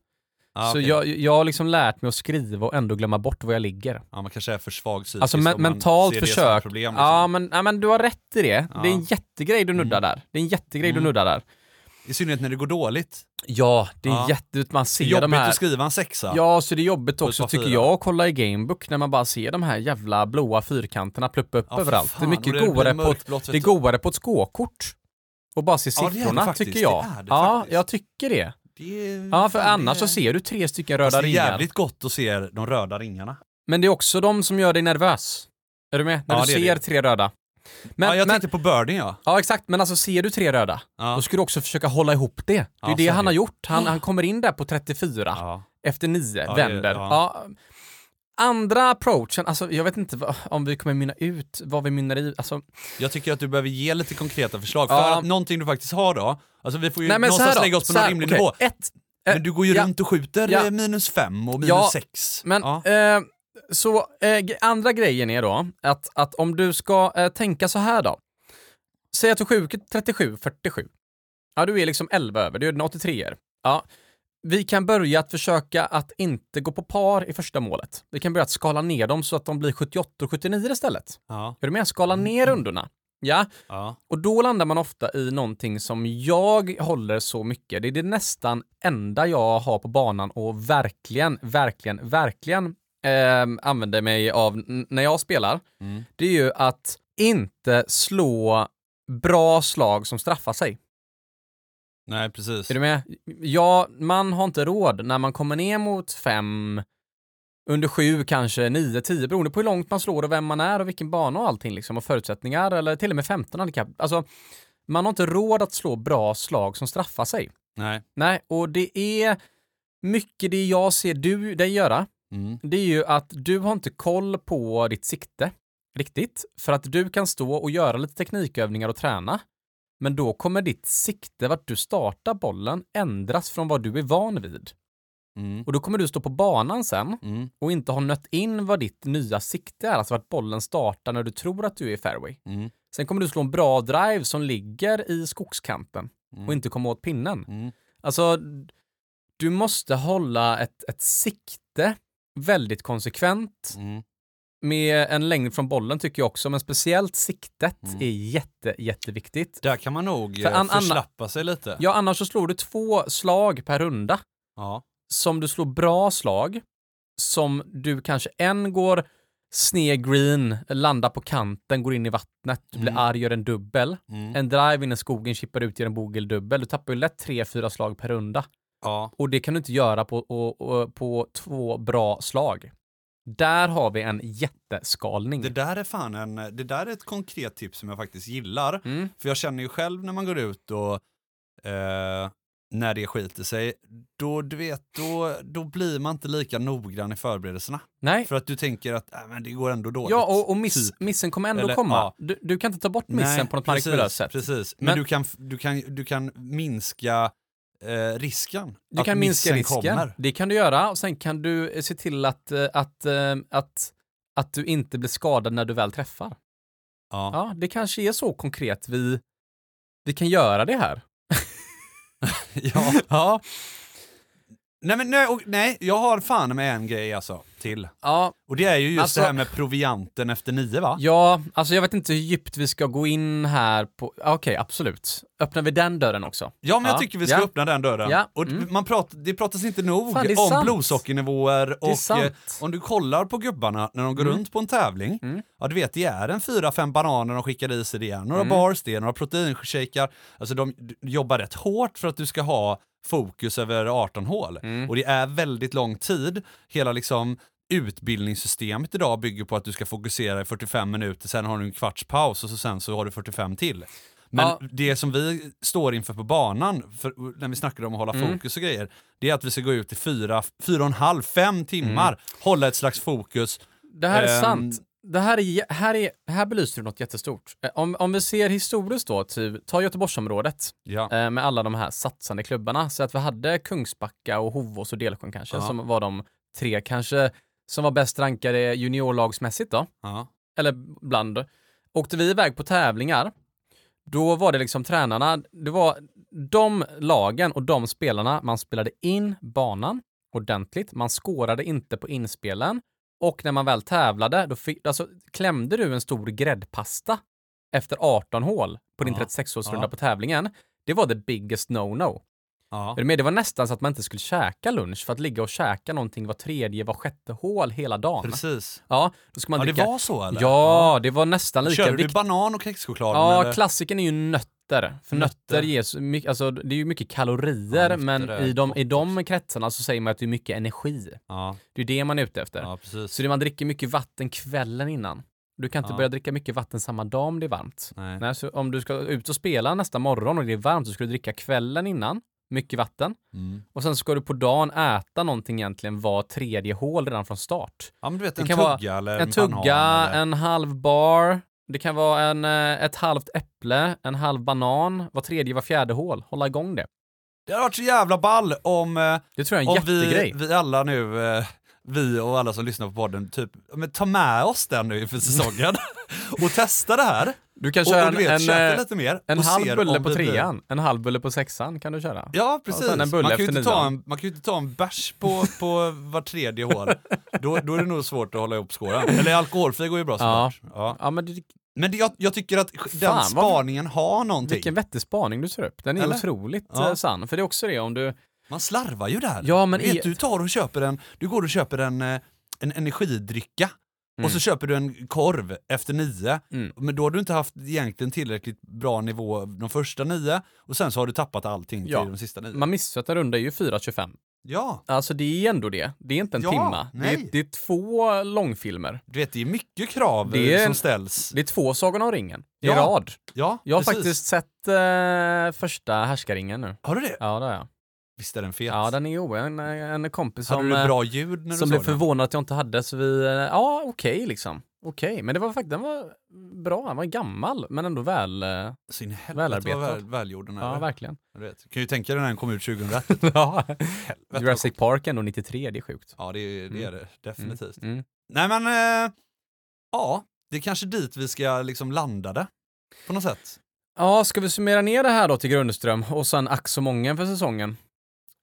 [SPEAKER 2] Ja,
[SPEAKER 1] så
[SPEAKER 2] okej.
[SPEAKER 1] jag, jag har liksom lärt mig att skriva och ändå glömma bort var jag ligger.
[SPEAKER 2] ja, man kanske är för svag psykiskt
[SPEAKER 1] Alltså
[SPEAKER 2] om
[SPEAKER 1] men,
[SPEAKER 2] man
[SPEAKER 1] mentalt
[SPEAKER 2] ser det som ett
[SPEAKER 1] försök.
[SPEAKER 2] Problem, liksom.
[SPEAKER 1] ja, men, ja, men du har rätt i det.
[SPEAKER 2] Ja.
[SPEAKER 1] Det är en jättegrej du nuddar där. Det är en jättegrej
[SPEAKER 2] Mm.
[SPEAKER 1] du nuddar där.
[SPEAKER 2] I synnerhet när det går dåligt.
[SPEAKER 1] Ja, det är
[SPEAKER 2] Ja.
[SPEAKER 1] jätte... Man
[SPEAKER 2] Det är
[SPEAKER 1] ser
[SPEAKER 2] jobbigt
[SPEAKER 1] de här...
[SPEAKER 2] att skriva en sexa.
[SPEAKER 1] Ja, så det är jobbigt
[SPEAKER 2] På ett
[SPEAKER 1] också
[SPEAKER 2] par
[SPEAKER 1] tycker
[SPEAKER 2] fyra.
[SPEAKER 1] jag att kolla i Gamebook när man bara ser de här jävla blåa fyrkanterna pluppa upp
[SPEAKER 2] Ja, för
[SPEAKER 1] överallt.
[SPEAKER 2] fan,
[SPEAKER 1] det är
[SPEAKER 2] och
[SPEAKER 1] mycket
[SPEAKER 2] blir
[SPEAKER 1] godare på, ett,
[SPEAKER 2] mörkblått, vet
[SPEAKER 1] det är
[SPEAKER 2] du.
[SPEAKER 1] godare på ett skåkort. Och bara se
[SPEAKER 2] Ja, det är det
[SPEAKER 1] siffrorna
[SPEAKER 2] faktiskt.
[SPEAKER 1] tycker jag.
[SPEAKER 2] Det är det
[SPEAKER 1] ja,
[SPEAKER 2] faktiskt.
[SPEAKER 1] jag tycker det.
[SPEAKER 2] Det är-
[SPEAKER 1] Ja, för
[SPEAKER 2] fan,
[SPEAKER 1] annars
[SPEAKER 2] det-
[SPEAKER 1] så ser du tre stycken
[SPEAKER 2] Fast
[SPEAKER 1] röda
[SPEAKER 2] Det är
[SPEAKER 1] ringar.
[SPEAKER 2] jävligt gott att se de röda ringarna.
[SPEAKER 1] Men det är också de som gör dig nervös. Är du med? När
[SPEAKER 2] Ja,
[SPEAKER 1] du
[SPEAKER 2] det är
[SPEAKER 1] ser
[SPEAKER 2] det.
[SPEAKER 1] tre röda. Men,
[SPEAKER 2] ja, jag
[SPEAKER 1] men,
[SPEAKER 2] tänkte på birdien ja.
[SPEAKER 1] ja, exakt. Men alltså ser du tre röda,
[SPEAKER 2] Ja.
[SPEAKER 1] då ska du också försöka hålla ihop det. Det är
[SPEAKER 2] Ja,
[SPEAKER 1] ju det
[SPEAKER 2] så är
[SPEAKER 1] han
[SPEAKER 2] det.
[SPEAKER 1] har gjort. Han, han kommer in där på 34.
[SPEAKER 2] Ja.
[SPEAKER 1] efter nio,
[SPEAKER 2] Ja, det-
[SPEAKER 1] vänder.
[SPEAKER 2] ja.
[SPEAKER 1] Ja. Andra approachen, alltså jag vet inte vad, om vi kommer mynna ut vad vi mynnar i. Alltså,
[SPEAKER 2] Jag tycker att du behöver ge lite konkreta förslag. För
[SPEAKER 1] Ja.
[SPEAKER 2] att någonting du faktiskt har då, alltså vi får ju
[SPEAKER 1] nej men så
[SPEAKER 2] någonstans
[SPEAKER 1] här då,
[SPEAKER 2] lägga oss på
[SPEAKER 1] så
[SPEAKER 2] någon
[SPEAKER 1] här,
[SPEAKER 2] rimlig
[SPEAKER 1] okej.
[SPEAKER 2] nivå.
[SPEAKER 1] Ett,
[SPEAKER 2] Men du går ju
[SPEAKER 1] ja.
[SPEAKER 2] runt och skjuter
[SPEAKER 1] Ja.
[SPEAKER 2] eh, minus fem och minus
[SPEAKER 1] Ja.
[SPEAKER 2] sex.
[SPEAKER 1] men
[SPEAKER 2] ja.
[SPEAKER 1] eh, så eh, g- andra grejen är då att, att om du ska eh, tänka så här då. Säg att du skjuter 37, 47. Ja, du är liksom 11 över, du är den 83 er. Ja. Vi kan börja att försöka att inte gå på par i första målet. Vi kan börja att skala ner dem så att de blir 78 och 79 istället.
[SPEAKER 2] ja.
[SPEAKER 1] Är du med? Skala
[SPEAKER 2] Mm,
[SPEAKER 1] ner rundorna. Ja,
[SPEAKER 2] ja.
[SPEAKER 1] Och då landar man ofta i någonting som jag håller så mycket. Det är det nästan enda jag har på banan och verkligen, verkligen, verkligen eh, använder mig av n- när jag spelar.
[SPEAKER 2] Mm.
[SPEAKER 1] Det är ju att inte slå bra slag som straffar sig.
[SPEAKER 2] Nej, precis.
[SPEAKER 1] Är du med? Ja, man har inte råd när man kommer ner mot fem, under sju kanske, nio, tio, beroende på hur långt man slår och vem man är och vilken bana och allting liksom och förutsättningar eller till och med 15 handikapp. Alltså, man har inte råd att slå bra slag som straffar sig.
[SPEAKER 2] Nej.
[SPEAKER 1] Nej, och det är mycket det jag ser du, dig göra,
[SPEAKER 2] Mm.
[SPEAKER 1] det är ju att du har inte koll på ditt sikte riktigt, för att du kan stå och göra lite teknikövningar och träna. Men då kommer ditt sikte vart du startar bollen ändras från vad du är van vid.
[SPEAKER 2] Mm.
[SPEAKER 1] Och då kommer du stå på banan sen
[SPEAKER 2] Mm.
[SPEAKER 1] och inte ha nött in vad ditt nya sikte är, alltså vart bollen startar när du tror att du är i fairway.
[SPEAKER 2] Mm.
[SPEAKER 1] Sen kommer du slå en bra drive som ligger i skogskanten
[SPEAKER 2] Mm.
[SPEAKER 1] och inte komma åt pinnen.
[SPEAKER 2] Mm.
[SPEAKER 1] Alltså, du måste hålla ett, ett sikte väldigt konsekvent.
[SPEAKER 2] Mm.
[SPEAKER 1] Med en längd från bollen tycker jag också, men speciellt siktet
[SPEAKER 2] Mm.
[SPEAKER 1] är jätte, jätteviktigt.
[SPEAKER 2] Där kan man nog
[SPEAKER 1] För
[SPEAKER 2] eh,
[SPEAKER 1] an- anna-
[SPEAKER 2] förslappa sig lite.
[SPEAKER 1] Ja, annars så slår du två slag per runda.
[SPEAKER 2] Ja.
[SPEAKER 1] som du slår bra slag, som du kanske en går sned green, landar på kanten, går in i vattnet, du blir
[SPEAKER 2] Mm.
[SPEAKER 1] arg, gör en dubbel.
[SPEAKER 2] Mm.
[SPEAKER 1] En drive in i skogen, chippar ut, gör en bogeldubbel. Du tappar ju lätt tre, fyra slag per runda.
[SPEAKER 2] ja.
[SPEAKER 1] Och det kan du inte göra på, och, och, på två bra slag. Där har vi en jätteskalning.
[SPEAKER 2] Det där är fan en, det där är ett konkret tips som jag faktiskt gillar.
[SPEAKER 1] Mm.
[SPEAKER 2] För jag känner ju själv när man går ut och eh, när det skiter sig, då, du vet, då, då blir man inte lika noggrann i förberedelserna.
[SPEAKER 1] Nej,
[SPEAKER 2] För att du tänker att äh, men det går ändå dåligt.
[SPEAKER 1] ja, och, och miss,
[SPEAKER 2] Typ.
[SPEAKER 1] missen kommer ändå
[SPEAKER 2] Eller,
[SPEAKER 1] komma.
[SPEAKER 2] ja.
[SPEAKER 1] Du, du kan inte ta bort missen
[SPEAKER 2] Nej,
[SPEAKER 1] på något mirakulöst
[SPEAKER 2] precis,
[SPEAKER 1] sätt.
[SPEAKER 2] Precis, men,
[SPEAKER 1] Men-
[SPEAKER 2] du, kan, du, kan, du kan minska eh, risken.
[SPEAKER 1] Du
[SPEAKER 2] att
[SPEAKER 1] kan minska
[SPEAKER 2] missen
[SPEAKER 1] risken.
[SPEAKER 2] Kommer.
[SPEAKER 1] Det kan du göra och sen kan du eh, se till att, eh, att, eh, att, att du inte blir skadad när du väl träffar.
[SPEAKER 2] Ja.
[SPEAKER 1] Ja, det kanske är så konkret vi, vi kan göra det här. [LAUGHS]
[SPEAKER 2] Ja. Nej, men, nej, och, nej, jag har fan med en grej alltså, till.
[SPEAKER 1] Ja,
[SPEAKER 2] Och det är ju just
[SPEAKER 1] Alltså-
[SPEAKER 2] det här med provianten efter nio va?
[SPEAKER 1] ja, alltså jag vet inte hur djupt vi ska gå in här på... ja, Okej, absolut. Öppnar vi den dörren också?
[SPEAKER 2] Ja, men
[SPEAKER 1] Ja,
[SPEAKER 2] jag tycker vi ska
[SPEAKER 1] ja.
[SPEAKER 2] öppna den dörren.
[SPEAKER 1] Ja,
[SPEAKER 2] Och d-
[SPEAKER 1] mm.
[SPEAKER 2] man pratar, det pratas inte nog
[SPEAKER 1] Fan, det är
[SPEAKER 2] om
[SPEAKER 1] sant.
[SPEAKER 2] blodsockernivåer
[SPEAKER 1] Det är
[SPEAKER 2] och eh,
[SPEAKER 1] sant.
[SPEAKER 2] om du kollar på gubbarna när de går
[SPEAKER 1] Mm.
[SPEAKER 2] runt på en tävling,
[SPEAKER 1] Mm.
[SPEAKER 2] ja du vet det är en fyra, fem bananer de skickar i sig, det är några
[SPEAKER 1] Mm.
[SPEAKER 2] bars, det är några proteinshakar, alltså de d- jobbar rätt hårt för att du ska ha fokus över 18 hål.
[SPEAKER 1] Mm.
[SPEAKER 2] Och det är väldigt lång tid, hela liksom utbildningssystemet idag bygger på att du ska fokusera i 45 minuter, sen har du en kvarts paus och så sen så har du 45 till. Men
[SPEAKER 1] Ja.
[SPEAKER 2] det som vi står inför på banan, för, när vi snackar om att hålla
[SPEAKER 1] Mm.
[SPEAKER 2] fokus och grejer, det är att vi ska gå ut i fyra, fyra och en halv, fem timmar,
[SPEAKER 1] Mm.
[SPEAKER 2] hålla ett slags fokus.
[SPEAKER 1] Det här är
[SPEAKER 2] Ehm.
[SPEAKER 1] sant. Det här, är, jä- här, är, här belyser du något jättestort. Eh, Om, om vi ser historiskt då, typ, ta Göteborgsområdet.
[SPEAKER 2] Ja.
[SPEAKER 1] eh, med alla de här satsande klubbarna. Så att vi hade Kungsbacka och Hovås och Delsjön kanske,
[SPEAKER 2] Ja.
[SPEAKER 1] som var de tre kanske som var bäst rankade juniorlagsmässigt då,
[SPEAKER 2] Ja.
[SPEAKER 1] eller bland. Åkte vi iväg på tävlingar, då var det liksom tränarna, det var de lagen och de spelarna, man spelade in banan ordentligt, man skårade inte på inspelen och när man väl tävlade, då fick, alltså, klämde du en stor gräddpasta efter 18 hål på din
[SPEAKER 2] Ja.
[SPEAKER 1] 36-årsrunda
[SPEAKER 2] Ja.
[SPEAKER 1] på tävlingen, det var the biggest no-no.
[SPEAKER 2] Ja.
[SPEAKER 1] Är du med? Det var nästan så att man inte skulle käka lunch för att ligga och käka någonting var tredje, var sjätte hål hela dagen.
[SPEAKER 2] Precis.
[SPEAKER 1] Ja, då ska man
[SPEAKER 2] Ja, det
[SPEAKER 1] dricka.
[SPEAKER 2] var så eller?
[SPEAKER 1] ja, det var nästan lika
[SPEAKER 2] Körde du
[SPEAKER 1] viktigt.
[SPEAKER 2] banan och kexchoklad?
[SPEAKER 1] Ja,
[SPEAKER 2] eller?
[SPEAKER 1] klassiken är ju nötter. För nötter,
[SPEAKER 2] Nötter.
[SPEAKER 1] ges mycket, alltså det är ju mycket
[SPEAKER 2] Ja,
[SPEAKER 1] kalorier,
[SPEAKER 2] nötter
[SPEAKER 1] men
[SPEAKER 2] är
[SPEAKER 1] i de, i
[SPEAKER 2] gott
[SPEAKER 1] de kretsarna så säger man att det är mycket energi.
[SPEAKER 2] ja.
[SPEAKER 1] Det är det man är ute efter.
[SPEAKER 2] ja, precis.
[SPEAKER 1] Så det, man dricker mycket vatten kvällen innan. Du kan inte
[SPEAKER 2] Ja.
[SPEAKER 1] börja dricka mycket vatten samma dag om det är varmt.
[SPEAKER 2] Nej.
[SPEAKER 1] Nej, så om du ska ut och spela nästa morgon och det är varmt så ska du dricka kvällen innan, mycket vatten.
[SPEAKER 2] Mm.
[SPEAKER 1] Och sen ska du på dagen äta någonting egentligen var tredje hål redan från start.
[SPEAKER 2] Ja, men du vet
[SPEAKER 1] Det
[SPEAKER 2] en
[SPEAKER 1] kan vara
[SPEAKER 2] tugga eller
[SPEAKER 1] En
[SPEAKER 2] Ehm, banan
[SPEAKER 1] tugga,
[SPEAKER 2] eller-
[SPEAKER 1] en halv bar, det kan vara en, eh, ett halvt äpple, en halv banan, var tredje, var fjärde hål. Hålla igång det.
[SPEAKER 2] Det hade varit så jävla ball om eh,
[SPEAKER 1] Det tror jag är en
[SPEAKER 2] Om vi,
[SPEAKER 1] jättegrej.
[SPEAKER 2] vi alla nu, eh, vi och alla som lyssnar på podden, typ, men ta med oss den nu
[SPEAKER 1] [LAUGHS]
[SPEAKER 2] inför säsongen och testa det här.
[SPEAKER 1] Du kan
[SPEAKER 2] Och,
[SPEAKER 1] köra
[SPEAKER 2] och du vet,
[SPEAKER 1] en,
[SPEAKER 2] käka
[SPEAKER 1] en, eh,
[SPEAKER 2] lite mer.
[SPEAKER 1] en
[SPEAKER 2] och
[SPEAKER 1] halv
[SPEAKER 2] ser
[SPEAKER 1] bulle
[SPEAKER 2] om
[SPEAKER 1] på
[SPEAKER 2] vi blir-
[SPEAKER 1] trean, en halv bulle på sexan kan du köra.
[SPEAKER 2] Ja, precis.
[SPEAKER 1] sen en bulle
[SPEAKER 2] Man kan ju
[SPEAKER 1] efter
[SPEAKER 2] inte ta
[SPEAKER 1] nian.
[SPEAKER 2] en, man kan ju inte ta en bärs på, på [LAUGHS] var tredje hål. Då, då är det nog svårt att hålla ihop skåran. Eller alkoholfri går ju bra såklart. Ja.
[SPEAKER 1] Ja, men det,
[SPEAKER 2] Men det, jag, jag tycker att den
[SPEAKER 1] vad-
[SPEAKER 2] spaningen har någonting.
[SPEAKER 1] vilken vettig spaning du tar upp. Den är
[SPEAKER 2] Eller?
[SPEAKER 1] otroligt
[SPEAKER 2] Ja.
[SPEAKER 1] eh, sann. För det är också det om du...
[SPEAKER 2] Man slarvar ju där.
[SPEAKER 1] Ja, men
[SPEAKER 2] du, vet,
[SPEAKER 1] är-
[SPEAKER 2] du tar och köper en, du går och köper en, eh, en energidrycka
[SPEAKER 1] Mm.
[SPEAKER 2] och så köper du en korv efter nio.
[SPEAKER 1] Mm.
[SPEAKER 2] Men då har du inte haft egentligen tillräckligt bra nivå de första nio och sen så har du tappat allting
[SPEAKER 1] Ja.
[SPEAKER 2] till de sista nio.
[SPEAKER 1] Man missar en runda är ju 4.25.
[SPEAKER 2] Ja,
[SPEAKER 1] Alltså det är ändå det. Det är inte en
[SPEAKER 2] Ja,
[SPEAKER 1] timma. Det
[SPEAKER 2] nej.
[SPEAKER 1] är, det är två långfilmer.
[SPEAKER 2] du vet det är mycket krav
[SPEAKER 1] Det är-
[SPEAKER 2] som ställs.
[SPEAKER 1] Det är två Sagan om ringen i
[SPEAKER 2] Ja,
[SPEAKER 1] rad.
[SPEAKER 2] Ja,
[SPEAKER 1] Jag har
[SPEAKER 2] precis.
[SPEAKER 1] faktiskt sett eh, första Härskaringen nu.
[SPEAKER 2] Har du det?
[SPEAKER 1] Ja, det har jag.
[SPEAKER 2] Visst är den fet?
[SPEAKER 1] Ja, den är o. En, en kompis
[SPEAKER 2] Hade
[SPEAKER 1] som,
[SPEAKER 2] du
[SPEAKER 1] eh,
[SPEAKER 2] bra ljud när du
[SPEAKER 1] som
[SPEAKER 2] såg
[SPEAKER 1] blev
[SPEAKER 2] den?
[SPEAKER 1] förvånad att jag inte hade, så vi, eh, ja okej liksom. Okej, men det var faktiskt, den var bra. Den var gammal, men ändå väl... eh,
[SPEAKER 2] Så in i helvete
[SPEAKER 1] Välarbetad.
[SPEAKER 2] vad väl, välgjord den
[SPEAKER 1] Ja,
[SPEAKER 2] här är.
[SPEAKER 1] verkligen.
[SPEAKER 2] Du vet. Kan ju tänka dig när den kom ut 2001.
[SPEAKER 1] [LAUGHS] ja.
[SPEAKER 2] Helvete.
[SPEAKER 1] Jurassic Park ändå 93, det är sjukt.
[SPEAKER 2] Ja, det, är- det är det
[SPEAKER 1] Mm.
[SPEAKER 2] definitivt.
[SPEAKER 1] Mm.
[SPEAKER 2] Nej men, eh, ja, det är kanske dit vi ska liksom landa det. På något sätt.
[SPEAKER 1] Ja, ska vi summera ner det här då till Grundström och sen ack så många för säsongen?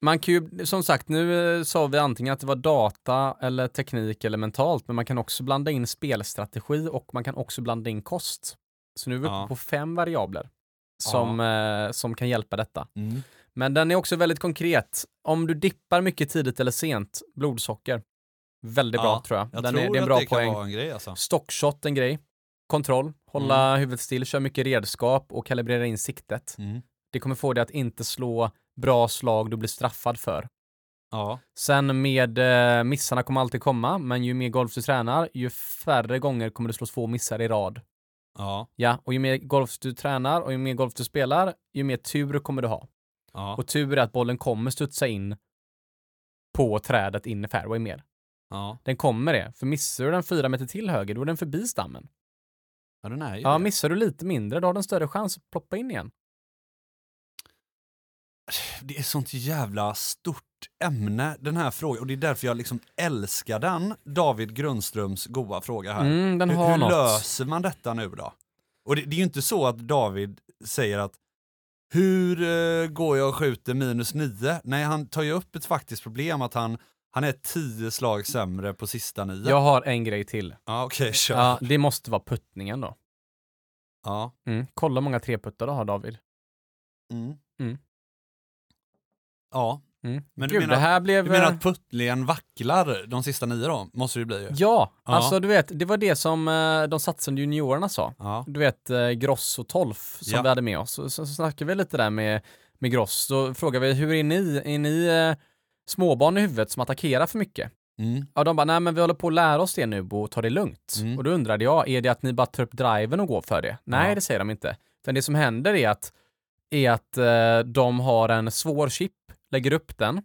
[SPEAKER 1] Man kan ju, som sagt, nu eh, sa vi antingen att det var data eller teknik eller mentalt, men man kan också blanda in spelstrategi och man kan också blanda in kost. Så nu är vi
[SPEAKER 2] Ja.
[SPEAKER 1] uppe på fem variabler som, eh, som kan hjälpa detta.
[SPEAKER 2] Mm.
[SPEAKER 1] Men den är också väldigt konkret. Om du dippar mycket tidigt eller sent, blodsocker. Väldigt bra
[SPEAKER 2] Ja,
[SPEAKER 1] tror jag.
[SPEAKER 2] Jag
[SPEAKER 1] Den
[SPEAKER 2] tror
[SPEAKER 1] är, det är en
[SPEAKER 2] att
[SPEAKER 1] bra
[SPEAKER 2] det
[SPEAKER 1] poäng.
[SPEAKER 2] kan vara en grej alltså.
[SPEAKER 1] Stockshot en grej. Kontroll, hålla huvudet still, kör mycket redskap och kalibrera in siktet.
[SPEAKER 2] Mm.
[SPEAKER 1] Det kommer få dig att inte slå bra slag du blir straffad för.
[SPEAKER 2] Ja.
[SPEAKER 1] Sen med eh, missarna kommer alltid komma, men ju mer golf du tränar, ju färre gånger kommer du slå två missar i rad.
[SPEAKER 2] Ja.
[SPEAKER 1] Ja, och ju mer golf du tränar och ju mer golf du spelar, ju mer tur kommer du ha.
[SPEAKER 2] Ja.
[SPEAKER 1] Och tur är att bollen kommer studsa in på trädet in i fairway mer.
[SPEAKER 2] ja.
[SPEAKER 1] Den kommer det, för missar du den fyra meter till höger, då är den förbi stammen.
[SPEAKER 2] Ja, den är ju
[SPEAKER 1] Ja,
[SPEAKER 2] det.
[SPEAKER 1] missar du lite mindre, då har den större chans att ploppa in igen.
[SPEAKER 2] det är sånt jävla stort ämne den här frågan och det är därför jag liksom älskar den, David Grundströms goa fråga här.
[SPEAKER 1] Mm, den
[SPEAKER 2] hur
[SPEAKER 1] har
[SPEAKER 2] hur
[SPEAKER 1] något.
[SPEAKER 2] löser man detta nu då? Och det, det är ju inte så att David säger att hur eh, går jag och skjuter minus nio? Nej, han tar ju upp ett faktiskt problem att han, han är tio slag sämre på sista nio.
[SPEAKER 1] Jag har en grej till.
[SPEAKER 2] Ja, okej, kör.
[SPEAKER 1] Ja, det måste vara puttningen då.
[SPEAKER 2] Ja.
[SPEAKER 1] Mm. Kolla hur många treputtar du har David.
[SPEAKER 2] Mm.
[SPEAKER 1] Mm.
[SPEAKER 2] Ja,
[SPEAKER 1] Mm.
[SPEAKER 2] Men du
[SPEAKER 1] Gud,
[SPEAKER 2] menar-
[SPEAKER 1] det här blev... eh,
[SPEAKER 2] du menar att puttlingen vacklar de sista nio då? Måste det ju bli ju.
[SPEAKER 1] Ja,
[SPEAKER 2] Ja.
[SPEAKER 1] alltså du vet, det var det som eh, de satsande juniorerna sa.
[SPEAKER 2] Ja.
[SPEAKER 1] Du vet eh, Gross och Tolf som
[SPEAKER 2] Ja.
[SPEAKER 1] vi hade med oss. Så, så, så snackade vi lite där med, med Gross. Då frågade vi, hur är ni? Är ni eh, småbarn i huvudet som attackerar för mycket?
[SPEAKER 2] Mm.
[SPEAKER 1] Ja, de bara, nej men vi håller på att lära oss det nu Bo, ta det lugnt.
[SPEAKER 2] Mm.
[SPEAKER 1] Och då undrade jag, är det att ni bara tar upp driven och går för det? Nej,
[SPEAKER 2] Ja.
[SPEAKER 1] det säger de inte. Utan det som händer är att, är att eh, de har en svår chip, lägger upp den,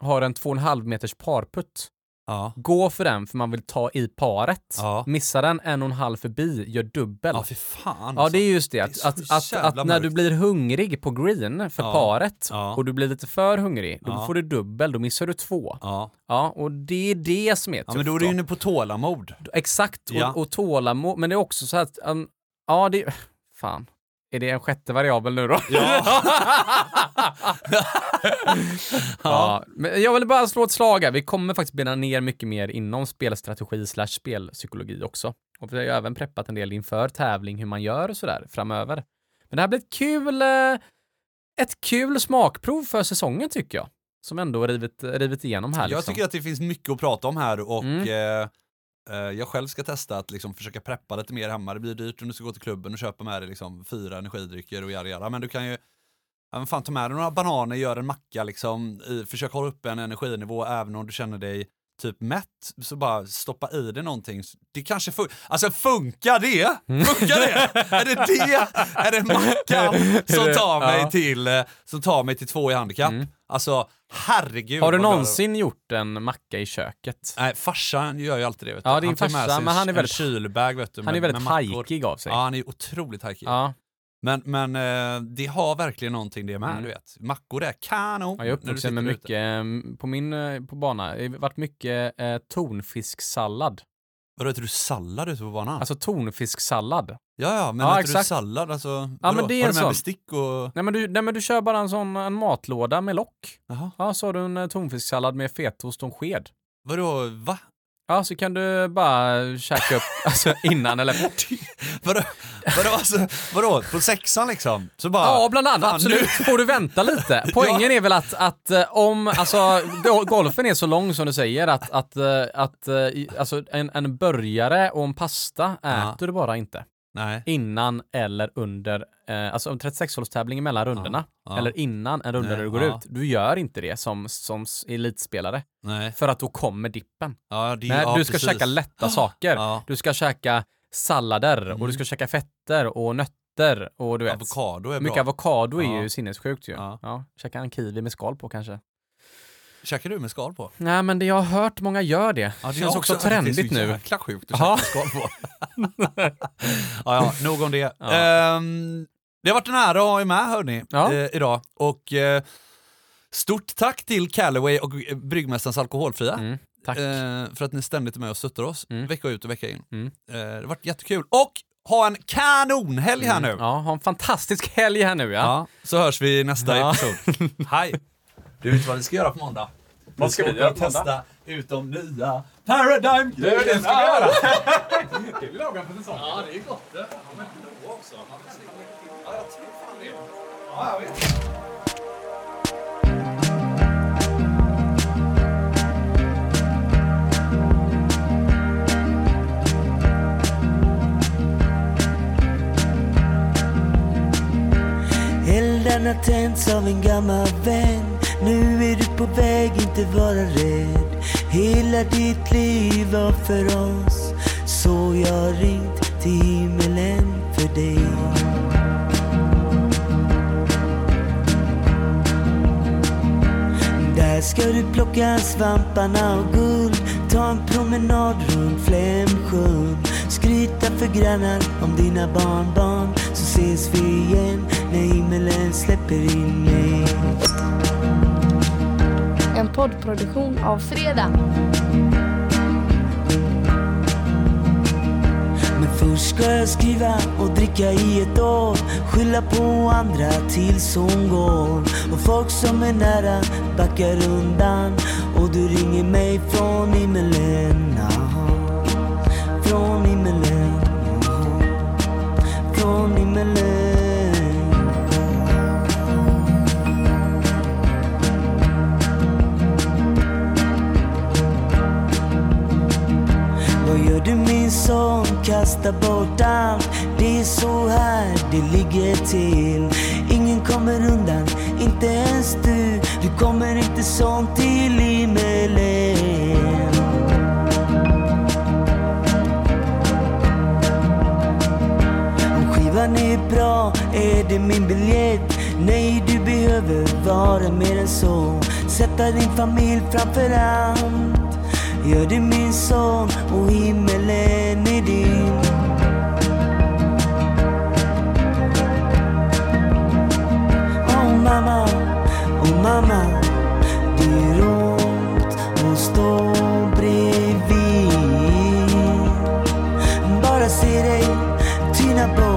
[SPEAKER 1] har en 2,5 meters parputt.
[SPEAKER 2] Ja.
[SPEAKER 1] Gå för den för man vill ta i paret.
[SPEAKER 2] Ja.
[SPEAKER 1] Missar den en och en halv förbi, gör dubbel.
[SPEAKER 2] Ja, fy fan. alltså.
[SPEAKER 1] Ja, det är just det.
[SPEAKER 2] är
[SPEAKER 1] Att,
[SPEAKER 2] så
[SPEAKER 1] att, att,
[SPEAKER 2] jävla
[SPEAKER 1] att när du
[SPEAKER 2] mörkt.
[SPEAKER 1] blir hungrig på green för
[SPEAKER 2] Ja.
[SPEAKER 1] paret
[SPEAKER 2] Ja.
[SPEAKER 1] och du blir lite för hungrig, då
[SPEAKER 2] Ja.
[SPEAKER 1] får du dubbel, då missar du två.
[SPEAKER 2] alltså. Ja.
[SPEAKER 1] Ja, och det är det som är
[SPEAKER 2] ja,
[SPEAKER 1] tufft.
[SPEAKER 2] men då är du inne på tålamod.
[SPEAKER 1] Exakt, och,
[SPEAKER 2] Ja.
[SPEAKER 1] och tålamod. Men det är också så här att, um, ja, det... Fan. Är det en sjätte variabel nu då?
[SPEAKER 2] [LAUGHS] Ja.
[SPEAKER 1] [LAUGHS] Ja, men jag vill bara slå ett slag här. Vi kommer faktiskt bena ner mycket mer inom spelstrategi slash spelpsykologi också. Och vi har ju även preppat en del inför tävling hur man gör och sådär framöver. Men det här blir ett kul, eh, ett kul smakprov för säsongen tycker jag. Som ändå har rivit, rivit igenom här.
[SPEAKER 2] Jag
[SPEAKER 1] liksom.
[SPEAKER 2] tycker att det finns mycket att prata om här och
[SPEAKER 1] Mm.
[SPEAKER 2] eh, eh, jag själv ska testa att liksom försöka preppa lite mer hemma. Det blir dyrt om du ska gå till klubben och köpa med dig liksom fyra energidrycker och jada jada. Men du kan ju ja, men fan, ta med dig några bananer, gör en macka, liksom, i, försök hålla upp en energinivå även om du känner dig typ mätt. Så bara stoppa i dig någonting. Det kanske funkar. Alltså funkar det?
[SPEAKER 1] Mm.
[SPEAKER 2] Funkar det? är det det? Är det mackan som tar mig
[SPEAKER 1] Ja. Mm.
[SPEAKER 2] till, eh, som tar mig till två i handikapp? Alltså herregud.
[SPEAKER 1] Har du
[SPEAKER 2] vad glad jag-
[SPEAKER 1] någonsin gjort en macka i köket?
[SPEAKER 2] Nej, farsan gör ju alltid det. Vet du.
[SPEAKER 1] Ja, din
[SPEAKER 2] tar med
[SPEAKER 1] farsa,
[SPEAKER 2] sig
[SPEAKER 1] men han är
[SPEAKER 2] en
[SPEAKER 1] väldigt-
[SPEAKER 2] kylbag, vet du,
[SPEAKER 1] Han är
[SPEAKER 2] med-
[SPEAKER 1] väldigt
[SPEAKER 2] med mackor.
[SPEAKER 1] hajkig av sig.
[SPEAKER 2] Ja, han är otroligt hajkig.
[SPEAKER 1] Ja.
[SPEAKER 2] Men, men eh, det har verkligen någonting det med,
[SPEAKER 1] Mm.
[SPEAKER 2] du vet. Mackor är kanon.
[SPEAKER 1] Ja, jag är
[SPEAKER 2] när du
[SPEAKER 1] uppvuxen
[SPEAKER 2] sitter
[SPEAKER 1] med
[SPEAKER 2] ute.
[SPEAKER 1] mycket, eh, på min eh, på bana, det har varit mycket eh, tonfisksallad.
[SPEAKER 2] Vadå, äter du sallad ute på banan?
[SPEAKER 1] Alltså tonfisksallad.
[SPEAKER 2] ja, ja, men
[SPEAKER 1] ja,
[SPEAKER 2] äter du
[SPEAKER 1] exakt.
[SPEAKER 2] sallad? Alltså,
[SPEAKER 1] Ja,
[SPEAKER 2] vadå?
[SPEAKER 1] men det är
[SPEAKER 2] har
[SPEAKER 1] en
[SPEAKER 2] du med
[SPEAKER 1] sån.
[SPEAKER 2] bestick och...
[SPEAKER 1] Nej men, du, nej men du kör bara en sån en matlåda med lock.
[SPEAKER 2] Jaha.
[SPEAKER 1] Ja, så har du en eh, tonfisksallad med fetaost och en sked.
[SPEAKER 2] Vadå, va? [LAUGHS]
[SPEAKER 1] Ja, så kan du bara käka upp [LAUGHS] alltså, innan eller...
[SPEAKER 2] Vadå, vadå, alltså, vadå, på sexan liksom? Så bara...
[SPEAKER 1] Ja, bland annat.
[SPEAKER 2] Fan,
[SPEAKER 1] absolut. Får du vänta
[SPEAKER 2] [LAUGHS]
[SPEAKER 1] lite. Poängen är väl att, att eh, om, alltså, go- golfen är så lång som du säger att, att, eh, att eh, i- alltså, en, en burgare och en pasta
[SPEAKER 2] Ja.
[SPEAKER 1] äter du bara inte.
[SPEAKER 2] Nej.
[SPEAKER 1] innan eller under, eh, alltså om 36-hålstävling mellan rundorna,
[SPEAKER 2] ja.
[SPEAKER 1] eller innan en runda
[SPEAKER 2] Nej,
[SPEAKER 1] där du går
[SPEAKER 2] ja.
[SPEAKER 1] ut. Du gör inte det som, som s- elitspelare,
[SPEAKER 2] Nej.
[SPEAKER 1] för att då kommer dippen.
[SPEAKER 2] Ja, det,
[SPEAKER 1] Nej,
[SPEAKER 2] ja,
[SPEAKER 1] du ska
[SPEAKER 2] precis.
[SPEAKER 1] käka
[SPEAKER 2] [GASPS]
[SPEAKER 1] lätta saker.
[SPEAKER 2] Ja. Mm.
[SPEAKER 1] Du ska käka sallader och du ska käka fetter och nötter och du vet.
[SPEAKER 2] Avokado är bra.
[SPEAKER 1] Mycket avokado är
[SPEAKER 2] Ja.
[SPEAKER 1] ju sinnessjukt ju. Ja.
[SPEAKER 2] Ja.
[SPEAKER 1] käka en kiwi med skal på kanske.
[SPEAKER 2] Käkar du med skal på?
[SPEAKER 1] Nej, men det jag har hört många gör det.
[SPEAKER 2] Ja,
[SPEAKER 1] känns också
[SPEAKER 2] [LAUGHS] det är så
[SPEAKER 1] trendigt nu.
[SPEAKER 2] jäkla sjukt att
[SPEAKER 1] Ja.
[SPEAKER 2] [LAUGHS] käka skal på. ja, ja, nog om det.
[SPEAKER 1] Ja.
[SPEAKER 2] Ehm, det har varit en ära att ha er med hörni,
[SPEAKER 1] Ja.
[SPEAKER 2] eh, idag. Och eh, stort tack till Callaway och eh, Bryggmästarens Alkoholfria.
[SPEAKER 1] Mm, tack.
[SPEAKER 2] eh, för att ni ständigt är med och stöttar oss
[SPEAKER 1] Mm.
[SPEAKER 2] vecka ut och vecka in.
[SPEAKER 1] Mm.
[SPEAKER 2] Eh, det har varit jättekul. Och ha en kanonhelg här nu!
[SPEAKER 1] Ja, ha en fantastisk helg här nu ja.
[SPEAKER 2] Ja, så hörs vi i nästa
[SPEAKER 1] Ja.
[SPEAKER 2] [LAUGHS] episod. Hej! Du vet vad vi ska göra på måndag?
[SPEAKER 1] Vad ska vi göra på måndag?
[SPEAKER 2] testa ut de nya Paradigm grejerna! Det ska vi [LAUGHS] göra! det är lagom för säsongen. Ja, det är gott det. Ja, men blå också. Ja, jag tror fan det. Ja, jag vet.
[SPEAKER 3] Eldarna tänds av en gammal vän Nu är du på väg, inte vara rädd Hela ditt liv var för oss Så jag ringt till himmelen för dig Där ska du plocka svamparna och guld Ta en promenad runt Flämsjön Skryta för grannar om dina barnbarn Så ses vi igen när himmelen släpper in mig
[SPEAKER 4] En poddproduktion av Fredag.
[SPEAKER 3] Men först ska jag skriva och dricka i ett år Skylla på andra tills hon går Och folk som är nära backar undan Och du ringer mig från himmelen aha. Från himmelen aha. Från himmelen Vad gör du min son? Kasta bort allt. Det är så här det ligger till. Ingen kommer undan, inte ens du. Du kommer inte sånt till himmelen. Om skivan är bra är det min biljett Nej, du behöver vara mer än så Sätta din familj framför allt Gör det min son och himmelen är din Oh mamma, oh mamma Det gör ont att stå bredvid Bara se dig tyna bort